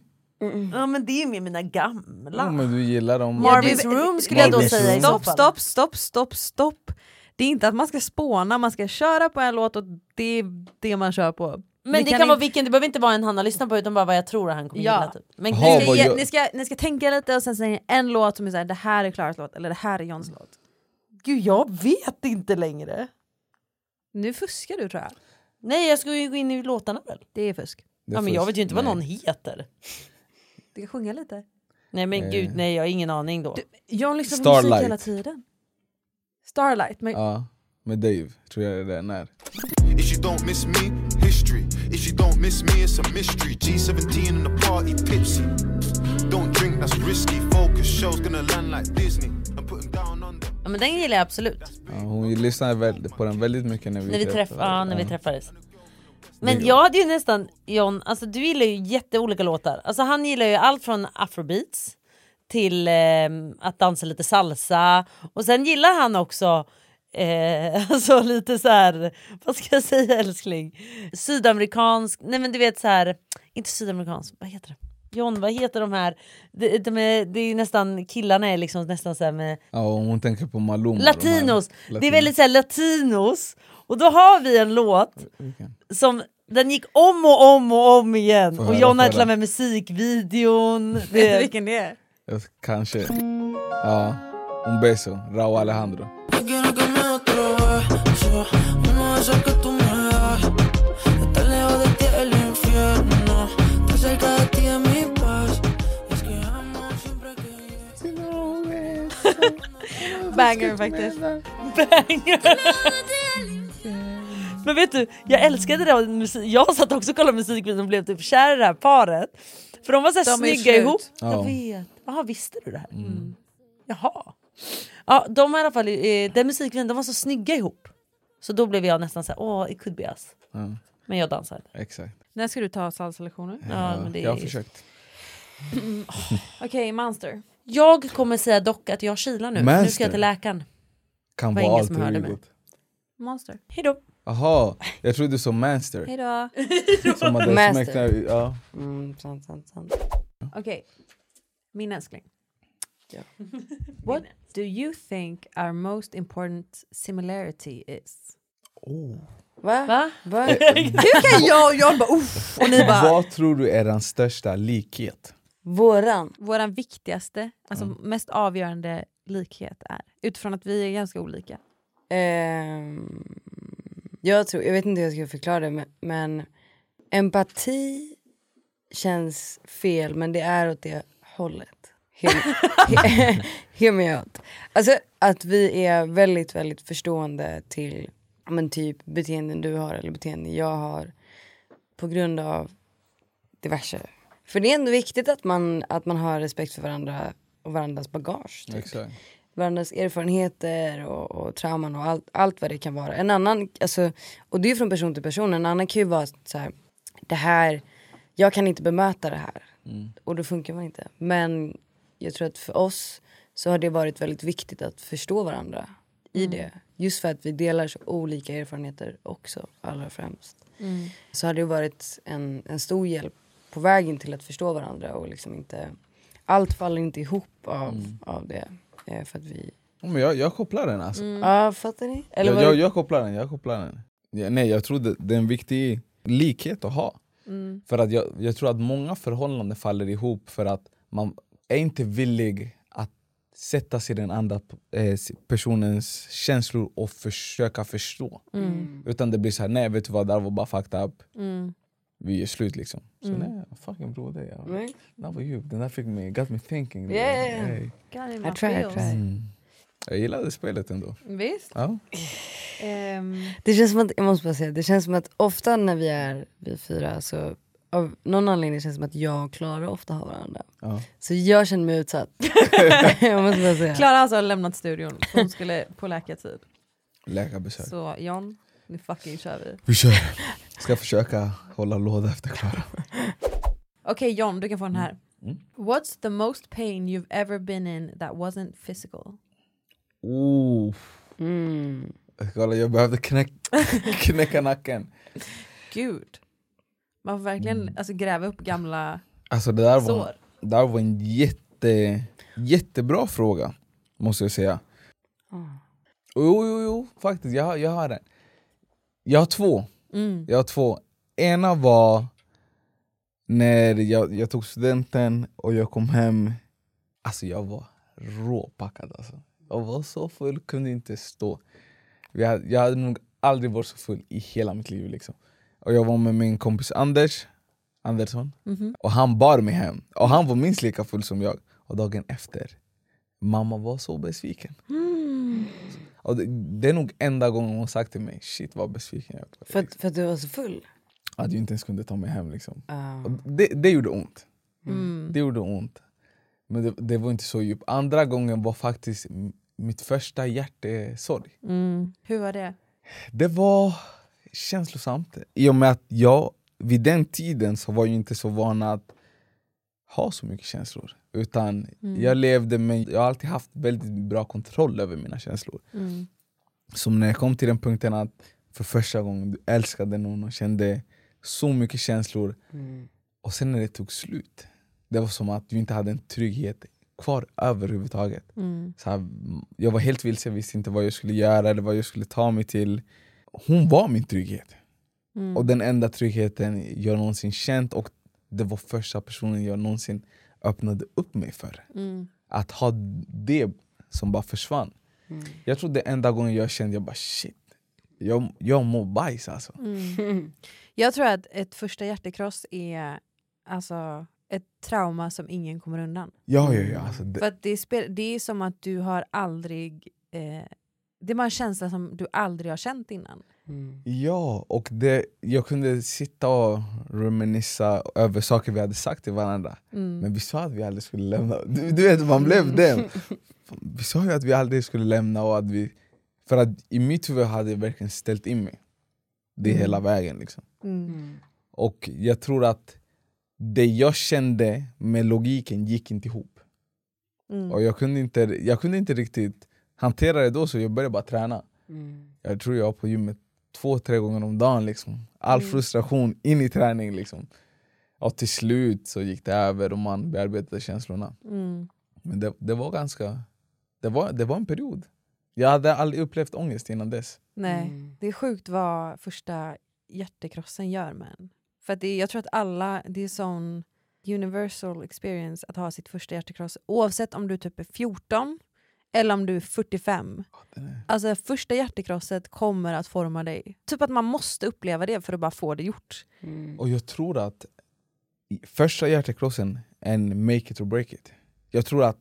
[SPEAKER 2] Ja men det är ju mer mina gamla.
[SPEAKER 1] Ja, men du gillar dem.
[SPEAKER 2] Marvin's Room skulle jag då
[SPEAKER 1] Marvin's
[SPEAKER 2] säga i så
[SPEAKER 1] Room.
[SPEAKER 3] Stopp, stopp, stopp, stopp, stopp. Det är inte att man ska spåna, man ska köra på en låt och det är det man kör på.
[SPEAKER 2] Men det kan,
[SPEAKER 3] kan
[SPEAKER 2] vara vilken, det behöver inte vara en han har lyssnat på utan bara vad jag tror att han kommer
[SPEAKER 3] Ja.
[SPEAKER 2] gilla. Typ. Men
[SPEAKER 1] Jaha,
[SPEAKER 3] ni, ska
[SPEAKER 1] vad
[SPEAKER 3] ge,
[SPEAKER 1] gör-
[SPEAKER 3] ni, ska, ni ska tänka lite och sen säger ni en låt som är såhär, det här är Klaras låt eller det här är Johns låt.
[SPEAKER 2] gud jag vet inte längre.
[SPEAKER 3] Nu fuskar du tror jag.
[SPEAKER 2] Nej jag skulle ju gå in i låtarna väl.
[SPEAKER 3] Det är fusk.
[SPEAKER 1] Det är
[SPEAKER 2] ja, men jag
[SPEAKER 1] fusk,
[SPEAKER 2] vet ju inte vad
[SPEAKER 1] nej.
[SPEAKER 2] någon heter.
[SPEAKER 3] Du kan sjunga lite.
[SPEAKER 2] Nej men
[SPEAKER 1] Eh.
[SPEAKER 2] gud nej jag har ingen aning då.
[SPEAKER 3] John lyssnar på musik
[SPEAKER 1] Starlight.
[SPEAKER 3] hela tiden. Starlight. Men,
[SPEAKER 1] Ja, med Dave tror jag det är. När.
[SPEAKER 11] If you don't miss me, history. If you don't miss me, it's a mystery. G17 in the party, tipsy. Don't drink, that's risky. Focus, show's gonna land like Disney. I'm putting down on the
[SPEAKER 2] Ja, men den gillar jag absolut.
[SPEAKER 1] Ja, hon lyssnade väl, på den väldigt mycket när vi,
[SPEAKER 2] När vi, träff
[SPEAKER 1] träffades.
[SPEAKER 2] ja, när vi
[SPEAKER 1] Ja.
[SPEAKER 2] träffades.
[SPEAKER 1] Det
[SPEAKER 2] Men
[SPEAKER 1] är
[SPEAKER 2] jag hade ju nästan, John, alltså du gillar ju jätteolika låtar. Alltså han gillar ju allt från afrobeats till ehm, att dansa lite salsa och sen gillar han också Eh, alltså lite så här, vad ska jag säga älskling? Sydamerikansk, nej men du vet så här, inte sydamerikansk, vad heter det? John, vad heter de här? De, de är, det är nästan, killarna är liksom nästan så här med
[SPEAKER 1] Ja, och hon tänker på Maluma. de här-
[SPEAKER 2] Latinos. Det är
[SPEAKER 1] Latinos.
[SPEAKER 2] väldigt såhär latinos. Och då har vi en låt som den gick om och om och om igen.
[SPEAKER 1] Får
[SPEAKER 2] Och
[SPEAKER 1] höra,
[SPEAKER 2] John
[SPEAKER 1] får
[SPEAKER 2] har till och
[SPEAKER 1] höra.
[SPEAKER 2] med musikvideon.
[SPEAKER 3] vet du vilken det är?
[SPEAKER 1] Jag- Kanske. Ja. Un beso, Raúl Alejandro.
[SPEAKER 12] Yo quiero que me atravieso Uno de esos que tú me das Estar lejos de ti el infierno Estar cerca de ti es mi paz Es que amo siempre que
[SPEAKER 3] Banger faktiskt.
[SPEAKER 2] Banger. Men vet du, jag älskade det. och musi- Jag satt också och kollade musikvideon och blev typ kär i det här paret. För de var så här
[SPEAKER 3] De är
[SPEAKER 2] snygga
[SPEAKER 3] slut.
[SPEAKER 2] ihop.
[SPEAKER 3] Ja.
[SPEAKER 2] Jag vet. Jaha, visste du det här? Mm. Jaha. Ja, de har i alla fall, eh, den musikvideon, de var så snygga ihop. Så då blev jag nästan så här, åh, it could be us.
[SPEAKER 1] Ja,
[SPEAKER 2] Men jag dansade.
[SPEAKER 1] exakt.
[SPEAKER 3] När ska du ta salsalektioner?
[SPEAKER 2] Ja, men det
[SPEAKER 1] Jag har
[SPEAKER 2] är-
[SPEAKER 1] försökt.
[SPEAKER 3] Mm. Okej, Monster.
[SPEAKER 2] Jag kommer säga dock att jag kilar nu. Nu ska
[SPEAKER 1] Master.
[SPEAKER 2] jag till läkaren.
[SPEAKER 1] Kan
[SPEAKER 2] Det
[SPEAKER 1] vara
[SPEAKER 2] var ingen
[SPEAKER 1] allt
[SPEAKER 2] som hörde
[SPEAKER 1] i
[SPEAKER 2] mig.
[SPEAKER 1] egot.
[SPEAKER 3] Monster.
[SPEAKER 2] Hejdå.
[SPEAKER 1] Jaha, jag trodde som Manster.
[SPEAKER 3] Hejdå.
[SPEAKER 1] Som hade
[SPEAKER 5] Master.
[SPEAKER 1] smeknamn. Ja.
[SPEAKER 5] Mm, sant, sant, sant.
[SPEAKER 3] Okej, min älskling. What do you think our most important similarity is?
[SPEAKER 1] Oh.
[SPEAKER 5] Va?
[SPEAKER 2] Va?
[SPEAKER 5] Va?
[SPEAKER 3] Hur kan jag och John bara oh. uff och ni bara...
[SPEAKER 1] Vad tror du är den största likhet?
[SPEAKER 5] Våran.
[SPEAKER 3] Våran viktigaste, alltså
[SPEAKER 5] Mm.
[SPEAKER 3] mest avgörande likhet är utifrån att vi är ganska olika.
[SPEAKER 5] Ehm, jag, tror, jag vet inte hur jag ska förklara det, men, men empati känns fel, men det är åt det hållet. Hear, hear me out. Alltså att vi är väldigt, väldigt förstående till ja, men, typ beteenden du har eller beteenden jag har på grund av diverse. För det är ändå viktigt att man, att man har respekt för varandra och varandras bagage. Typ
[SPEAKER 1] Exakt.
[SPEAKER 5] varandras erfarenheter och, och trauman och allt, allt vad det kan vara. En annan, alltså, och det är ju från person till person, en annan kan ju vara så här, det här, jag kan inte bemöta det här. Och då funkar man inte. Men jag tror att för oss så har det varit väldigt viktigt att förstå varandra i
[SPEAKER 3] Mm.
[SPEAKER 5] det. Just för att vi delar så olika erfarenheter också, allra främst.
[SPEAKER 3] Mm.
[SPEAKER 5] Så har det varit en, en stor hjälp på vägen till att förstå varandra och liksom inte, allt faller inte ihop av, av det. eh, För att vi
[SPEAKER 1] Ja, men jag, jag kopplar den
[SPEAKER 2] Mm.
[SPEAKER 1] alltså.
[SPEAKER 5] Mm. Ja, fattar ni? Eller
[SPEAKER 1] jag,
[SPEAKER 5] var
[SPEAKER 1] jag,
[SPEAKER 5] det-
[SPEAKER 1] jag kopplar den, jag kopplar den. Ja, nej, jag tror det, det är en viktig likhet att ha.
[SPEAKER 5] Mm.
[SPEAKER 1] För att jag, jag tror att många förhållanden faller ihop för att man är inte villig att sätta sig i den andra eh, personens känslor och försöka förstå.
[SPEAKER 3] Mm.
[SPEAKER 1] Utan det blir så här, nej vet du vad, det här var bara fucked up,
[SPEAKER 3] Mm.
[SPEAKER 1] vi är slut liksom. Så
[SPEAKER 3] Mm.
[SPEAKER 1] nej, fucking broder. Jag,
[SPEAKER 5] Nej.
[SPEAKER 1] Den var djup, den där fick mig, got me thinking.
[SPEAKER 5] Yeah, Mm. yeah, yeah.
[SPEAKER 1] Hey.
[SPEAKER 3] God,
[SPEAKER 5] I
[SPEAKER 3] my
[SPEAKER 5] try, I
[SPEAKER 3] feels.
[SPEAKER 5] try.
[SPEAKER 1] Mm. Jag gillade spelet ändå.
[SPEAKER 3] Visst.
[SPEAKER 1] Ja.
[SPEAKER 3] Ehm,
[SPEAKER 5] Det känns som att, jag måste bara säga, det känns som att ofta när vi är vi fyra så av någon anledning känns det som att jag och Klara ofta har varandra.
[SPEAKER 1] Ja.
[SPEAKER 5] Så jag känner mig utsatt. jag måste bara säga.
[SPEAKER 3] Klara alltså har lämnat studion för hon skulle på läkartid.
[SPEAKER 1] Läkarbesök.
[SPEAKER 3] Så John, nu fucking kör vi.
[SPEAKER 1] Vi kör. Ska försöka hålla låda efter Klara.
[SPEAKER 3] Okej John, du kan få den här.
[SPEAKER 1] Mm.
[SPEAKER 3] What's the most pain you've ever been in that wasn't physical?
[SPEAKER 1] Oh.
[SPEAKER 5] Mm.
[SPEAKER 1] Kolla, jag behövde knäck, knäcka nacken.
[SPEAKER 3] Gud. Man får verkligen alltså, gräva upp gamla...
[SPEAKER 1] Alltså det där
[SPEAKER 3] Sår.
[SPEAKER 1] var, det där var en jätte, jättebra fråga, måste jag säga.
[SPEAKER 3] Ah.
[SPEAKER 1] Jo, jo, jo, faktiskt. Jag, har- jag har en. Jag har två.
[SPEAKER 3] Mm.
[SPEAKER 1] Jag har två. Ena var när jag, jag tog studenten och jag kom hem, alltså jag var råpackad alltså. Jag var så full, kunde inte stå. Jag, hade- jag hade nog aldrig varit så full i hela mitt liv. Liksom. Och jag var med min kompis Anders Andersson,
[SPEAKER 12] Mhm.
[SPEAKER 1] och han bar mig hem. Och han var minst lika full som jag. Och dagen efter, mamma var så besviken.
[SPEAKER 5] Mm.
[SPEAKER 1] Och det, det är nog enda gången hon sagt till mig, shit vad besviken jag var.
[SPEAKER 5] För, att- för att du var så full?
[SPEAKER 1] Att jag inte ens kunde ta mig hem. Liksom.
[SPEAKER 5] Ah.
[SPEAKER 1] Och det, det gjorde ont.
[SPEAKER 5] Mm.
[SPEAKER 1] Det gjorde ont. Men det, det var inte så djupt. Andra gången var faktiskt m- mitt första hjärtesorg.
[SPEAKER 3] Hur var det?
[SPEAKER 1] Det var känslosamt. I och med att jag vid den tiden så var jag inte så van att ha så mycket känslor. Utan
[SPEAKER 12] Mm.
[SPEAKER 1] jag levde med, jag har alltid haft väldigt bra kontroll över mina känslor.
[SPEAKER 12] Mm.
[SPEAKER 1] Som när jag kom till den punkten att för första gången du älskade någon och kände så mycket känslor.
[SPEAKER 5] Mm.
[SPEAKER 1] Och sen när det tog slut, det var som att du inte hade en trygghet kvar överhuvudtaget.
[SPEAKER 12] Mm.
[SPEAKER 1] Så här, jag var helt vilse, jag visste inte vad jag skulle göra eller vad jag skulle ta mig till. Hon var min trygghet.
[SPEAKER 12] Mm.
[SPEAKER 1] Och den enda tryggheten jag någonsin känt och det var första personen jag någonsin öppnade upp mig för.
[SPEAKER 12] Mm.
[SPEAKER 1] Att ha det som bara försvann.
[SPEAKER 12] Mm.
[SPEAKER 1] Jag tror det enda gången jag kände jag bara shit, jag, jag mår bajs alltså.
[SPEAKER 3] Mm. Jag tror att ett första hjärtekross är alltså, ett trauma som ingen kommer undan.
[SPEAKER 1] Ja, ja, ja, alltså
[SPEAKER 3] För
[SPEAKER 1] det,
[SPEAKER 3] att det, spel, det är som att du har aldrig... Eh, det är bara en känsla som du aldrig har känt innan.
[SPEAKER 5] Mm.
[SPEAKER 1] ja, och det, jag kunde sitta och reminissa över saker vi hade sagt till varandra.
[SPEAKER 3] Mm.
[SPEAKER 1] Men vi sa att vi aldrig skulle lämna. Du, du vet, man blev
[SPEAKER 12] Mm.
[SPEAKER 1] den. Vi sa ju att vi aldrig skulle lämna. Och att vi, för att i mitt huvud hade jag verkligen ställt in mig. Det
[SPEAKER 12] Mm.
[SPEAKER 1] hela vägen. Liksom.
[SPEAKER 12] Mm.
[SPEAKER 1] Och jag tror att det jag kände med logiken gick inte ihop.
[SPEAKER 12] Mm.
[SPEAKER 1] Och jag kunde, inte, jag kunde inte riktigt hantera det då, så jag började bara träna.
[SPEAKER 5] Mm.
[SPEAKER 1] Jag tror jag var på gymmet två, tre gånger om dagen. Liksom. All
[SPEAKER 12] Mm.
[SPEAKER 1] frustration in i träning. Liksom. Och till slut så gick det över och man bearbetade känslorna.
[SPEAKER 3] Mm.
[SPEAKER 1] Men det, det var ganska... Det var, det var en period. Jag hade aldrig upplevt ångest innan dess.
[SPEAKER 3] Nej,
[SPEAKER 1] Mm.
[SPEAKER 3] det är sjukt vad första hjärtekrossen gör med en. För att det, är- jag tror att alla, det är sån universal experience att ha sitt första hjärtekross. Oavsett om du typ är 14 eller om du är 45. Alltså första hjärtekrosset kommer att forma dig. Typ att man måste uppleva det för att bara få det gjort.
[SPEAKER 1] Och jag tror att i- första hjärtekrossen är en make it or break it. Jag tror att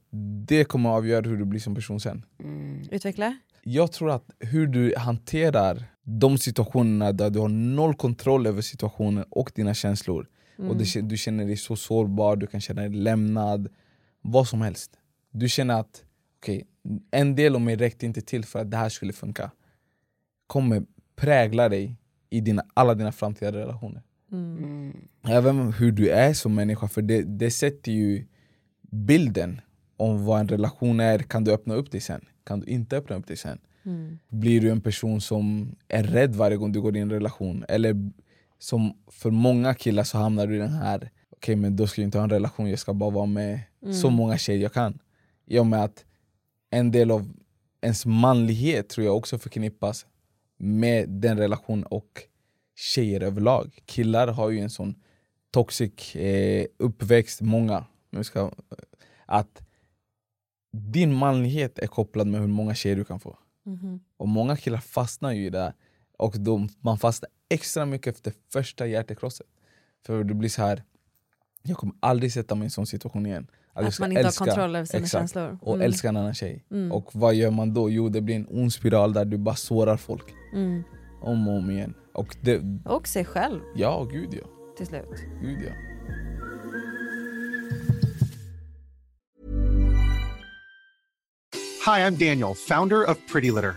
[SPEAKER 1] det kommer att avgöra hur du blir som person sen. Mm.
[SPEAKER 3] Utveckla.
[SPEAKER 1] Jag tror att hur du hanterar de situationerna där du har noll kontroll över situationen och dina känslor och
[SPEAKER 12] Mm.
[SPEAKER 1] du, kän- du känner dig så sårbar, du kan känna dig lämnad, vad som helst. Du känner att okej, en del av mig räckte inte till för att det här skulle funka. Kommer prägla dig i dina, alla dina framtida relationer. Även hur du är som människa, för det, det sätter ju bilden om vad en relation är. Kan du öppna upp dig sen? Kan du inte öppna upp dig sen?
[SPEAKER 12] Mm.
[SPEAKER 1] Blir du en person som är rädd varje gång du går in i en relation? Eller som för många killar så hamnar du i den här, okej men då ska jag inte ha en relation, jag ska bara vara med så
[SPEAKER 12] Mm.
[SPEAKER 1] många tjejer jag kan. I och med att en del av ens manlighet tror jag också förknippas med den relation och tjejer överlag. Killar har ju en sån toxic eh, uppväxt, många. Nu ska, att din manlighet är kopplad med hur många tjejer du kan få. Och många killar fastnar ju i det här. Och de, man fastnar extra mycket efter första hjärtekrosset. För det blir så här, jag kommer aldrig sätta mig i en sån situation igen. Alltså, jag
[SPEAKER 3] Att
[SPEAKER 1] ska
[SPEAKER 3] man inte har kontroll över sina
[SPEAKER 1] exakt,
[SPEAKER 3] känslor.
[SPEAKER 1] Och
[SPEAKER 3] Mm.
[SPEAKER 1] älska en annan tjej.
[SPEAKER 3] Mm.
[SPEAKER 1] Och vad gör man då? Jo det blir en ond spiral där du bara sårar folk.
[SPEAKER 3] Mm.
[SPEAKER 1] Om och om igen. Och det,
[SPEAKER 3] Och sig själv
[SPEAKER 1] ja gud ja.
[SPEAKER 3] till slut.
[SPEAKER 1] Gud ja.
[SPEAKER 13] Hi, I'm Daniel, founder of Pretty Litter.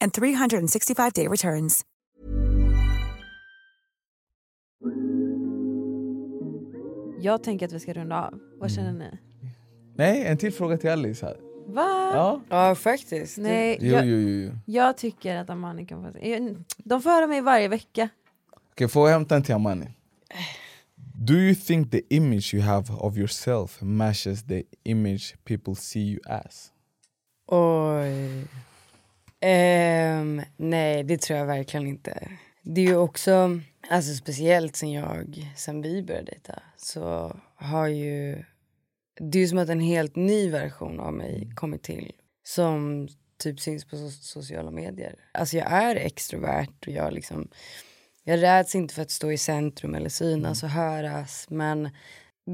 [SPEAKER 14] and 365-day returns.
[SPEAKER 3] Jag tänker att vi ska runda av.
[SPEAKER 1] Mm.
[SPEAKER 3] Vad känner ni?
[SPEAKER 1] Nej, en till fråga till Alice. här.
[SPEAKER 3] Va?
[SPEAKER 1] Ja.
[SPEAKER 5] Ja faktiskt.
[SPEAKER 3] Nej,
[SPEAKER 1] Jo,
[SPEAKER 3] jag,
[SPEAKER 1] jo, jo. jo.
[SPEAKER 3] jag tycker att Amani kan få... jag- De får höra mig varje vecka.
[SPEAKER 1] Okej, får jag hämta en till Amani? Do you think the image you have of yourself matches the image people see you as?
[SPEAKER 5] Oj. Ehm, nej, det tror jag verkligen inte. Det är ju också, alltså speciellt sen jag, sen vi började dejta, så har ju, det är ju som att en helt ny version av mig kommit till. Som typ syns på so- sociala medier. Alltså jag är extrovert och jag liksom, jag räds inte för att stå i centrum eller synas och höras. Men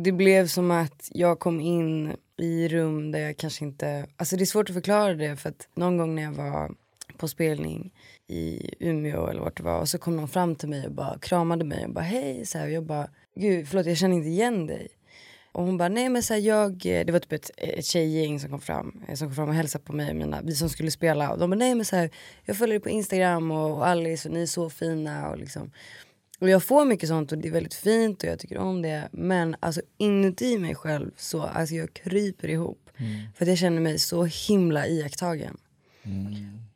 [SPEAKER 5] det blev som att jag kom in i rum där jag kanske inte... Alltså det är svårt att förklara det för att någon gång när jag var på spelning i Umeå eller vart det var och så kom någon fram till mig och bara kramade mig och bara hej så här, och jag bara gud förlåt jag känner inte igen dig. Och hon bara nej men så här, jag, det var typ ett, ett tjejgäng som kom fram, eh, som kom fram och hälsade på mig och mina, vi som skulle spela och de bara nej men så här, jag följer dig på Instagram och, och Alice och ni är så fina och liksom och jag får mycket sånt och det är väldigt fint och jag tycker om det. Men alltså inuti mig själv så alltså jag kryper ihop. För att jag känner mig så himla iakttagen.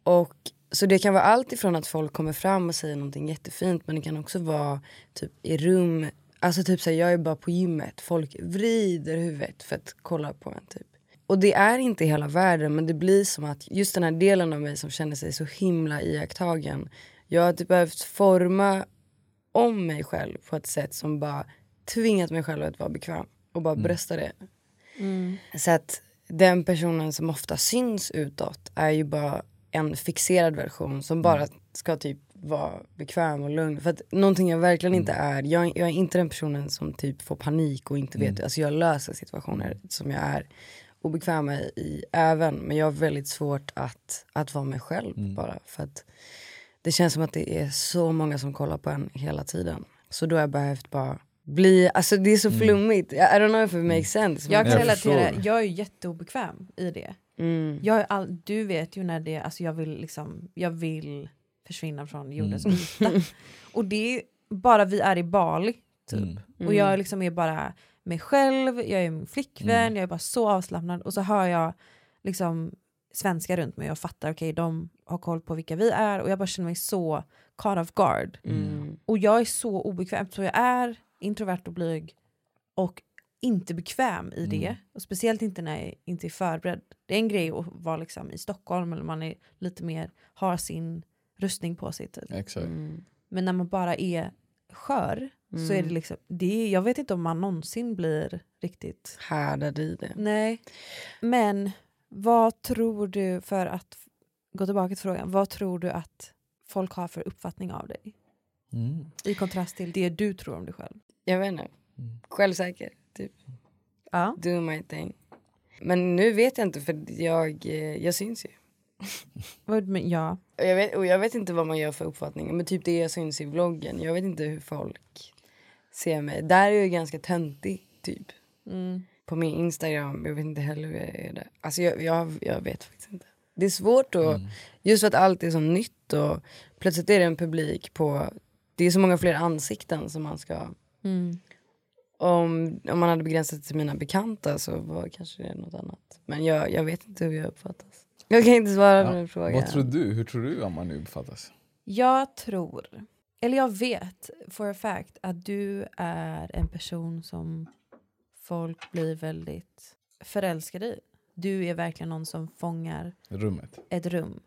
[SPEAKER 5] Och så det kan vara allt ifrån att folk kommer fram och säger någonting jättefint men det kan också vara typ i rum, alltså typ såhär jag är bara på gymmet, folk vrider huvudet för att kolla på en typ. Och det är inte hela världen men det blir som att just den här delen av mig som känner sig så himla iakttagen. Jag har typ behövt forma om mig själv på ett sätt som bara tvingat mig själv att vara bekväm och bara brösta det. Så att den personen som ofta syns utåt är ju bara en fixerad version som bara ska typ vara bekväm och lugn. För att någonting jag verkligen inte är, jag, jag är inte den personen som typ får panik och inte vet, alltså jag löser situationer som jag är obekväm i, i även, men jag har väldigt svårt att, att vara mig själv bara för att det känns som att det är så många som kollar på en hela tiden. Så då har jag behövt bara bli, alltså det är så
[SPEAKER 3] Mm.
[SPEAKER 5] flummigt, I don't know if it makes sense.
[SPEAKER 3] Jag
[SPEAKER 5] men-
[SPEAKER 3] kan relatera, jag är ju jätteobekväm i det.
[SPEAKER 5] Mm.
[SPEAKER 3] Jag är all, du vet ju när det, alltså jag vill liksom, jag vill försvinna från jordens yta. och det är bara vi är i Bali typ. Och jag liksom är bara mig själv, jag är min flickvän, jag är bara så avslappnad och så hör jag liksom svenskar runt mig och jag fattar okej de har koll på vilka vi är och jag bara känner mig så caught off guard. Och jag är så obekväm så jag är introvert och blyg och inte bekväm i det. Och speciellt inte när jag inte är förberedd. Det är en grej att vara liksom i Stockholm eller man är lite mer, har sin rustning på sig. Typ.
[SPEAKER 1] Exakt.
[SPEAKER 3] Men när man bara är skör så är det
[SPEAKER 5] Mm.
[SPEAKER 3] liksom, det är, jag vet inte om man någonsin blir riktigt...
[SPEAKER 5] Härdad i det.
[SPEAKER 3] Nej. Men vad tror du, för att gå tillbaka till frågan, vad tror du att folk har för uppfattning av dig?
[SPEAKER 1] Mm.
[SPEAKER 3] I kontrast till det du tror om dig själv.
[SPEAKER 5] Jag vet inte. Självsäker, typ.
[SPEAKER 3] Ja.
[SPEAKER 5] Do my thing. Men nu vet jag inte för jag, eh, jag syns ju.
[SPEAKER 3] Vad men- Ja.
[SPEAKER 5] Och jag, vet, och jag vet inte vad man gör för uppfattningar. Men typ det jag syns i vloggen. Jag vet inte hur folk ser mig. Där är jag ju ganska töntig, typ.
[SPEAKER 3] Mm.
[SPEAKER 5] På min Instagram, jag vet inte heller hur jag är där. Alltså jag, jag, jag vet faktiskt inte. Det är svårt att, just för att allt är så nytt och plötsligt är det en publik på, det är så många fler ansikten som man ska
[SPEAKER 3] Mm.
[SPEAKER 5] om, om man hade begränsat till mina bekanta så var kanske det något annat. Men jag, jag vet inte hur jag uppfattas. Jag kan inte svara på
[SPEAKER 1] Ja.
[SPEAKER 5] den frågan.
[SPEAKER 1] Vad tror du? Hur tror du Amani uppfattas?
[SPEAKER 3] Jag tror Eller jag vet for a fact att du är en person som folk blir väldigt förälskade i. Du är verkligen någon som fångar
[SPEAKER 1] Rummet. Mm,
[SPEAKER 3] ett rum.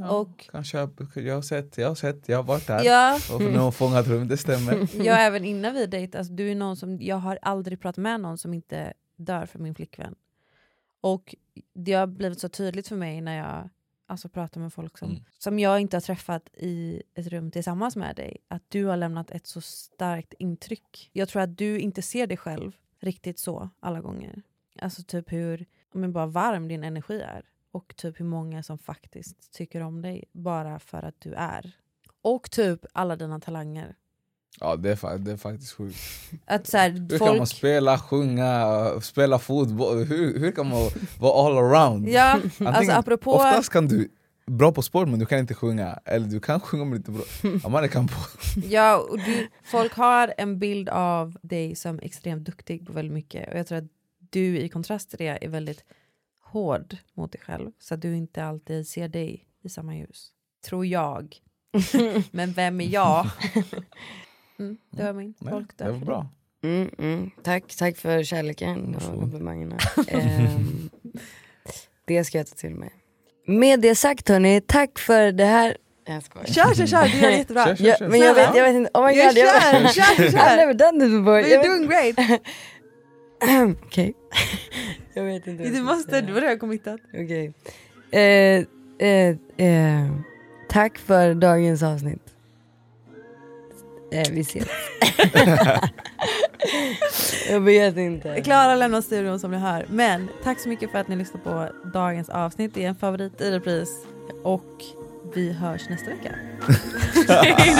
[SPEAKER 1] ja.
[SPEAKER 3] Och
[SPEAKER 1] Kanske jag, jag har sett, jag har sett, jag har varit där.
[SPEAKER 3] Ja.
[SPEAKER 1] Och nu har hon fångat rum, det stämmer.
[SPEAKER 3] jag även innan vi dejtade, alltså, du är någon som, jag har aldrig pratat med någon som inte dör för min flickvän. Och det har blivit så tydligt för mig när jag alltså, pratar med folk som, som jag inte har träffat i ett rum tillsammans med dig, att du har lämnat ett så starkt intryck. Jag tror att du inte ser dig själv riktigt så alla gånger. Alltså typ hur men bara varm din energi är och typ hur många som faktiskt tycker om dig bara för att du är. Och typ alla dina talanger.
[SPEAKER 1] Ja det är, fa- det är faktiskt sjukt.
[SPEAKER 3] Att så här,
[SPEAKER 1] Hur kan man
[SPEAKER 3] folk...
[SPEAKER 1] spela, sjunga, spela fotboll? Hur, hur kan man vara all around?
[SPEAKER 3] Ja, alltså apropå-
[SPEAKER 1] Oftast kan du bra på sport men du kan inte sjunga. Eller du kan sjunga men inte bra. Amanda kan på.
[SPEAKER 3] Ja, och du, folk har en bild av dig som extremt duktig på väldigt mycket och jag tror att du i kontrast till det är väldigt hård mot dig själv så att du inte alltid ser dig i samma ljus. Tror jag. Men vem är jag? Mm, det var min.
[SPEAKER 5] Nej,
[SPEAKER 3] Folk
[SPEAKER 5] det
[SPEAKER 3] dör
[SPEAKER 5] var
[SPEAKER 3] för
[SPEAKER 5] bra. Mm, mm. Tack, tack för kärleken och komplimangerna. Ehm, det ska jag ta till mig. Med det sagt hörni, tack för det här. Nej, Jag skojar.
[SPEAKER 3] Kör, kör, kör. Du gör jättebra.
[SPEAKER 5] Ja, men jag vet, jag vet inte, oh my god.
[SPEAKER 3] Ja,
[SPEAKER 5] jag-
[SPEAKER 3] kör, kör, kör.
[SPEAKER 5] I've never done this before.
[SPEAKER 3] You're
[SPEAKER 5] Jag vet-
[SPEAKER 3] doing great.
[SPEAKER 5] Okej. jag vet inte. vad
[SPEAKER 3] Du
[SPEAKER 5] jag ska
[SPEAKER 3] måste,
[SPEAKER 5] säga.
[SPEAKER 3] du har redan committat.
[SPEAKER 5] Okej. Eh, eh, eh, tack för dagens avsnitt. Eh, vi ses. jag vet inte.
[SPEAKER 3] Klara lämnar studion som ni hör. Men tack så mycket för att ni lyssnade på dagens avsnitt. Det är en favorit i repris. Och vi hörs nästa vecka. Hej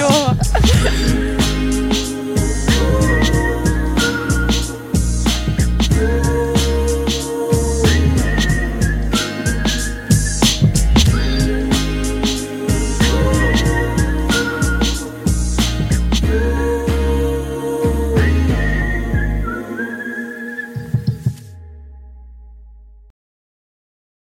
[SPEAKER 3] då!